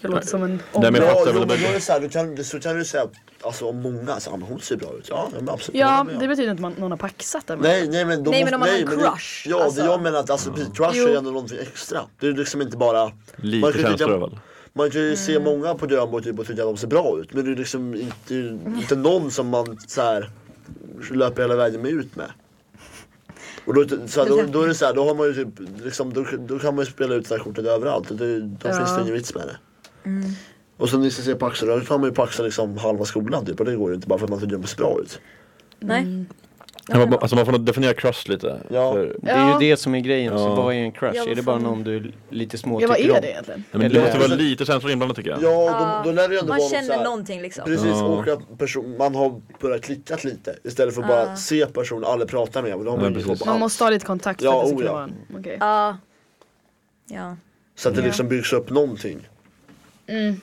S4: jag låter som en
S5: Nej, men- jag
S6: Ja,
S5: fattar
S6: jo, men
S5: väl
S6: då
S5: det.
S6: är det så, här, du kan, så kan du säga alltså om många, så, ja, men hon ser bra ut. Ja, men absolut. jag håller
S4: Ja,
S6: med om.
S4: det betyder inte att man, någon har paxat den.
S6: Nej, nej men, då
S3: Nej, men
S6: måste-
S3: om man har
S6: nej,
S3: en
S6: men det-
S3: crush,
S6: Ja,
S3: alltså.
S6: det jag menar att alltså, mm. crush är
S4: Jo.
S6: ändå någonting extra. Det är liksom inte bara... man
S5: Lite
S6: kan ju tycka-
S5: känslor i alla fall.
S6: Man kan ju
S3: Mm.
S6: se många på Grönbo typ och tycka att de ser bra ut. Men det är liksom inte, inte någon som man så här, löper hela vägen med ut med. Och då, så här, då, då är det så här, då har man ju typ, liksom, då, då kan man ju spela ut det här kortet överallt. Och det, då
S4: Ja.
S6: finns det ingen vits med det.
S3: Mm.
S6: Och som ni ska se på Axel, då kan man ju på Axel liksom halva skolan typ. Och det går ju inte bara för att man tycker att de ser bra ut. Mm.
S3: Nej.
S5: Man, alltså man får nog definiera crush lite.
S6: Ja.
S5: För,
S2: Det är
S4: Ja.
S2: ju det som är grejen, så
S5: Ja.
S2: vad är en crush?
S3: Ja, vad
S2: är det bara
S3: fan.
S2: någon du l- lite små
S4: Ja, vad
S2: tycker
S4: är
S2: om?
S4: det egentligen?
S5: Nej, men det
S2: Eller-
S5: måste vara lite känslor inblandat tycker jag.
S6: Ja, då, då lär det ju ändå
S3: Man
S6: vara något så
S3: känner
S6: här-
S3: någonting liksom.
S6: Precis,
S5: Ja.
S6: och att person, man har börjat klicka lite istället för att bara se personen aldrig prata med. Men då har
S5: Ja,
S6: man ju liksom koll
S5: precis.
S6: på
S4: Man
S6: allt.
S4: måste ha lite kontakt för
S6: Ja,
S4: att det ska
S6: oh,
S4: kunna
S6: ja.
S4: vara en. Okej.
S3: Ja. Ja.
S6: Så att det liksom byggs upp någonting.
S4: Mm.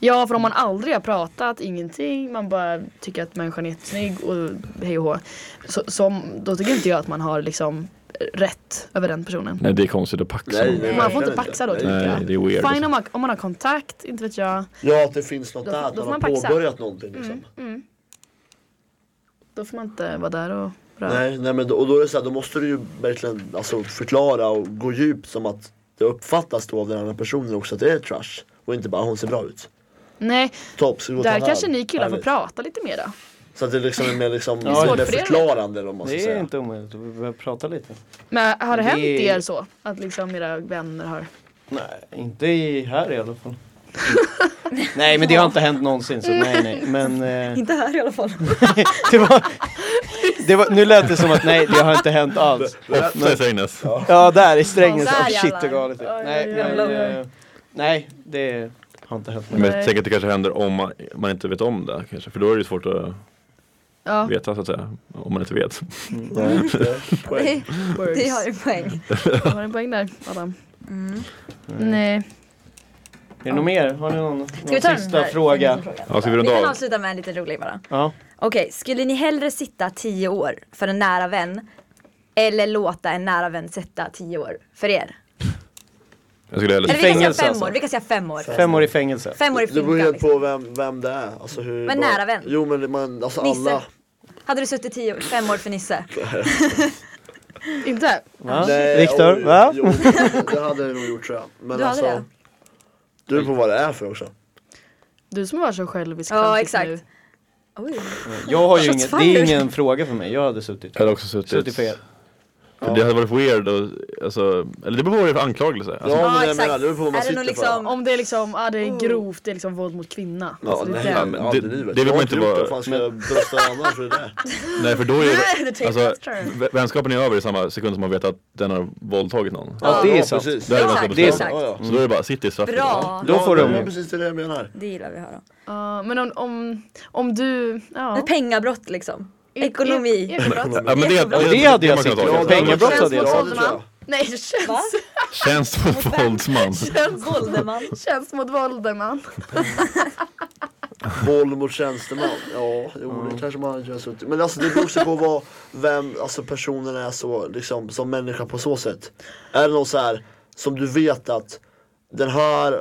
S4: Ja, för om man aldrig har pratat, ingenting, man bara tycker att människan är jättesnygg och hej och hå. Så, så, då tycker inte jag att man har liksom rätt över den personen.
S5: Nej det är konstigt att paxa.
S6: Nej, nej.
S4: Man får
S6: verkligen
S4: inte paxa då
S6: inte.
S4: tycker
S5: Nej,
S4: jag.
S5: det är weird.
S4: Fine om man, om man har kontakt, inte vet jag.
S6: Ja, att det finns något
S4: Då-
S6: där, att
S4: då
S6: man
S4: får
S6: har
S4: man paxa. Mm,
S6: påbörjat någonting liksom.
S4: Då får man inte vara där och röra.
S6: Nej, nej men då, och då är det så här, då måste du ju verkligen alltså, förklara och gå djupt som att det uppfattas då av den andra personen också att det är trash. Och inte bara hon ser bra ut.
S4: Nej,
S6: Topp, ska vi gå och ta
S4: där
S6: en öl?
S4: kanske ni killar får
S6: Härligt.
S4: prata lite mer då.
S6: Så att det liksom är mer liksom,
S2: är svårt
S6: mer
S4: för er.
S6: förklarande om man ska
S2: Det är
S6: säga.
S2: inte omöjligt, vi behöver prata lite.
S4: Men har det
S2: Det-
S4: hänt er så? Att liksom era vänner har...
S2: Nej, inte i, här i alla fall. nej, men det har inte hänt någonsin så nej, nej. Men eh,
S3: Inte här i alla fall.
S2: det, var, det var, nu lät det som att nej, det har inte hänt alls.
S5: Ofta i Sängnäs.
S2: Ja, där i Strängnäs.
S3: Där
S2: Oh, shit,
S3: jävlar.
S2: vad galet det är. Nej, nej, det, nej, det har inte hänt.
S5: Men
S4: Nej.
S5: jag tänker att det kanske händer om man, man inte vet om det kanske. För då är det ju svårt att
S4: Ja,
S5: veta så att säga. Om man inte vet.
S6: Nej, det är poäng.
S3: Det,
S4: words.
S3: det har en poäng.
S4: Har du en poäng där, Adam? Nej.
S2: Är det något mer? Har ni någon,
S3: Ska vi
S2: någon
S3: ta den
S2: sista
S3: här?
S2: fråga?
S3: Den här
S5: Ja, ska
S3: Vi
S5: vi runda
S3: kan
S5: av?
S3: avsluta med en liten rolig bara.
S2: Ja.
S3: Okej, skulle ni hellre sitta 10 år för en nära vän eller låta en nära vän sätta 10 år för er?
S5: Jag skulle hellre
S3: Eller vi
S5: säga
S3: kan
S2: fängelse
S3: säga 5
S2: alltså.
S3: år, vi kan säga 5 år.
S2: Fem år i fängelse.
S3: 5 år i
S6: Det beror
S3: finkan
S6: helt
S3: liksom.
S6: på vem, vem det är. Alltså hur
S3: Men
S6: bra-
S3: nära vän.
S6: Jo men man, alltså
S3: Nisse.
S6: alla.
S3: Hade du suttit 10 år, 5 år för Nisse?
S4: Inte?
S2: Va?
S6: Nej,
S2: Viktor,
S6: oj,
S2: va?
S6: Jo, det hade jag nog gjort tror jag. Men
S3: Du hade
S6: alltså,
S3: det?
S6: Du beror på vad det är för också.
S4: Du som har varit så självisk
S3: Ja,
S4: fram tills
S3: exakt.
S4: nu.
S3: Oj.
S2: Jag har ju
S3: Shots
S2: inget, det är
S3: fired.
S2: ingen fråga för mig, jag hade suttit.
S5: Jag hade också suttit.
S2: Suttit på er.
S5: För det hade varit weird och, alltså, eller det beror på vad det är för anklagelse. Alltså,
S6: Ja, men jag
S3: exakt.
S6: menar, det beror på vad man
S3: Är det någon
S6: sitter för.
S3: liksom-
S4: Om det är liksom, ah, det är grovt, det är liksom våld mot kvinna.
S6: Ja,
S4: alltså, det
S6: nej,
S4: är den.
S5: men
S6: ja,
S5: det-
S6: det,
S5: det
S6: livet. Jag
S5: vill man
S6: har
S5: inte
S6: gjort det,
S5: vara-
S6: fan ska jag brösta annars för det där?
S5: nej för då är
S4: Det
S5: det,
S4: är
S5: alltså,
S4: tristare.
S5: vä- vänskapen är över i samma sekund som man vet att den har våldtagit någon.
S2: Ja, det är sant.
S6: precis.
S5: Där är man
S3: Exakt,
S5: så bestämd.
S3: exakt.
S6: Ja, ja.
S5: Så då är det bara, sitt i straffet.
S3: Bra!
S2: Då får
S6: ja,
S2: de
S6: det är
S2: ju.
S6: precis det jag menar.
S3: Det gillar vi att höra.
S4: Ja, Ah, men om, om, om du, ja.
S3: Ett pengabrott liksom.
S4: Ek-
S3: Ekonomi.
S4: ek- ekobrott.
S5: Ja, men det, det,
S2: Ja, det hade jag
S5: man
S2: sett.
S5: kunnat ta.
S2: Ja, Pengabrott
S6: Tjänst
S2: hade jag
S6: mot
S2: sagt.
S6: våld, tror jag.
S4: Nej, tjänst,
S3: Va?
S5: Tjänst mot våldsman.
S3: Vålderman.
S4: tjänst mot Volderman.
S6: Våld mot tjänsteman. Ja, jo, det kanske man hade kunnat suttit. Men alltså det beror också på vad, vem alltså personen är så, liksom, som människa på så sätt. Är det någon så här som du vet att den här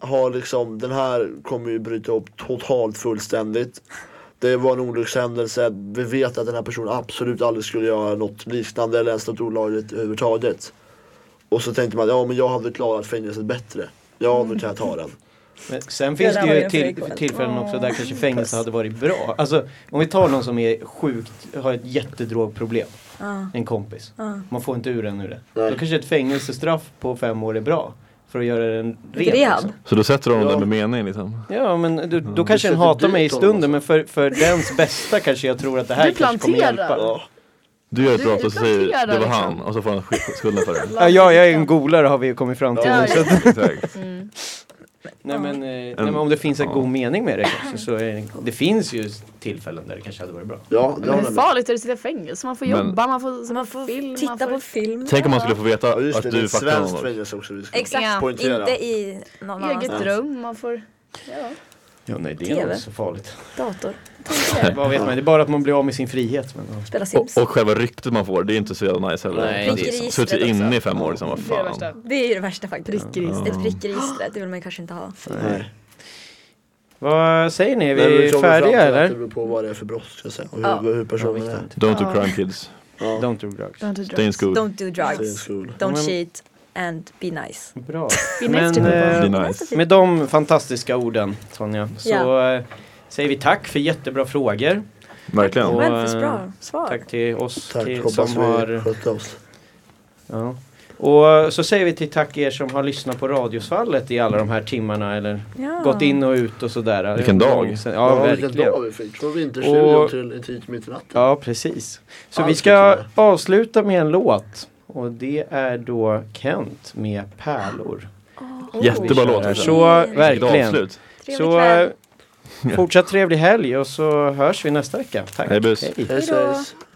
S6: har liksom, den här kommer ju bryta upp totalt fullständigt. Det var en olyckshändelse. Vi vet att den här personen absolut aldrig skulle göra något liknande eller ens något olagligt överhuvudtaget. Och så tänkte man, ja men jag hade klarat fängelset bättre. Ja, nu kan jag ta den.
S2: Men sen finns
S3: där
S2: det
S3: var
S2: ju
S3: jag
S2: till,
S3: freak, väl?
S2: tillfällen också där kanske fängelse hade varit bra. Alltså om vi tar någon som är sjukt, har ett jättedrogproblem.
S3: Ja.
S2: En kompis.
S3: Ja.
S2: Man får inte ur den ur det.
S6: Nej.
S2: Då kanske ett fängelsestraff på fem år är bra. För att göra den ren.
S3: Rehab.
S2: liksom.
S5: Så då sätter de
S6: Ja.
S5: den med mening liksom.
S2: Ja men du, då kanske den
S6: sätter
S2: hatar
S6: dit
S2: mig i
S6: honom
S2: stunden
S6: alltså.
S2: men för, för dens bästa kanske jag tror att det här
S4: Du
S2: kanske kommer
S4: planterar.
S2: hjälpa.
S6: Ja.
S5: Du gör ett
S4: Du-
S5: brott och så
S4: du planterar,
S5: säger det var
S4: liksom.
S5: han och så får han sk- skulden för det.
S2: Ja, jag är en golare har vi ju kommit fram till
S4: Ja,
S2: nu. Så, att-
S5: Exakt.
S2: nej, men, eh, nej men om det finns en god mening med det kanske så är det, det finns ju tillfällen där det kanske hade varit bra.
S6: Ja, det har
S4: Men
S6: den.
S4: hur farligt är det att sitta i fängelse? Man får
S5: Men-
S4: jobba, man får,
S3: Så man får
S4: film,
S3: titta
S4: man får...
S3: på film.
S5: Tänk om man skulle få veta
S6: Ja just
S5: att
S6: det, det är
S5: du
S6: ett
S5: fuckade
S6: svenskt
S5: honom.
S6: fängelse också. Vi ska.
S3: Exakt,
S4: Ja.
S6: Poängtera.
S3: inte i någon
S4: Eget
S3: annanstans.
S4: rum, man får... Ja.
S2: Ja, nej det
S3: TV.
S2: är nog inte så farligt.
S3: Dator.
S2: Vad vet man, det är bara att man blir av med sin frihet. Men, ja.
S3: Spela Sims.
S5: Och, och själva ryktet man får, det är inte så jävla nice heller.
S2: Nej,
S5: Att
S2: det är
S5: ha
S3: sant.
S5: Suttit inne i fem år liksom, vad
S4: Det är
S5: fan.
S4: det värsta.
S3: Det är ju det värsta faktiskt.
S4: Prickregister.
S3: Ett prick i registret, det vill man ju kanske inte ha.
S6: Nej.
S2: Vad säger ni, är
S6: Men
S2: vi
S6: kommer fram till
S2: färdiga
S6: att
S2: eller?
S6: Det beror på vad det är för brott ska jag säga. Och hur,
S3: Ja.
S6: hur personen är.
S2: Don't
S5: Don't do
S4: Ja.
S5: crime kids.
S2: do drugs.
S5: Stay in school.
S3: Don't do
S6: Det är en
S3: drugs.
S6: skuld.
S2: Ja, men-
S3: Don't cheat. And be nice.
S2: Bra.
S4: Be nice
S2: Men,
S4: to people.
S2: eh,
S5: Be nice.
S2: Med de fantastiska orden Sonja, så
S3: Ja.
S2: eh, säger vi tack för jättebra frågor.
S5: Verkligen.
S2: Och,
S3: Men för
S2: eh,
S3: bra svar.
S2: Tack till oss
S6: Tack,
S2: till,
S6: hoppas
S2: som
S6: vi
S2: har...
S6: skötte oss.
S2: Ja. Och eh, så säger vi till tack er som har lyssnat på Radiosvallet i alla de här timmarna eller
S3: Ja.
S2: gått in och ut och sådär.
S5: Vilken dag.
S2: Ja,
S6: vilken
S2: verkligen.
S6: dag vi fick. Från vinterstudion
S2: Och-
S6: till etik mitt i natten.
S2: Ja, precis. Så
S6: Allt
S2: vi
S6: är
S2: ska
S6: kul.
S2: avsluta med en låt. Och det är då Kent med Pärlor.
S5: Jättebra låt.
S2: Så,
S5: Vilket
S2: verkligen.
S5: avslut.
S3: Trevlig
S2: Så
S3: kväll.
S2: eh, fortsatt trevlig helg och så hörs vi nästa vecka. Tack.
S5: Hej, bus.
S6: Hej
S3: Hejdå.
S6: svejs.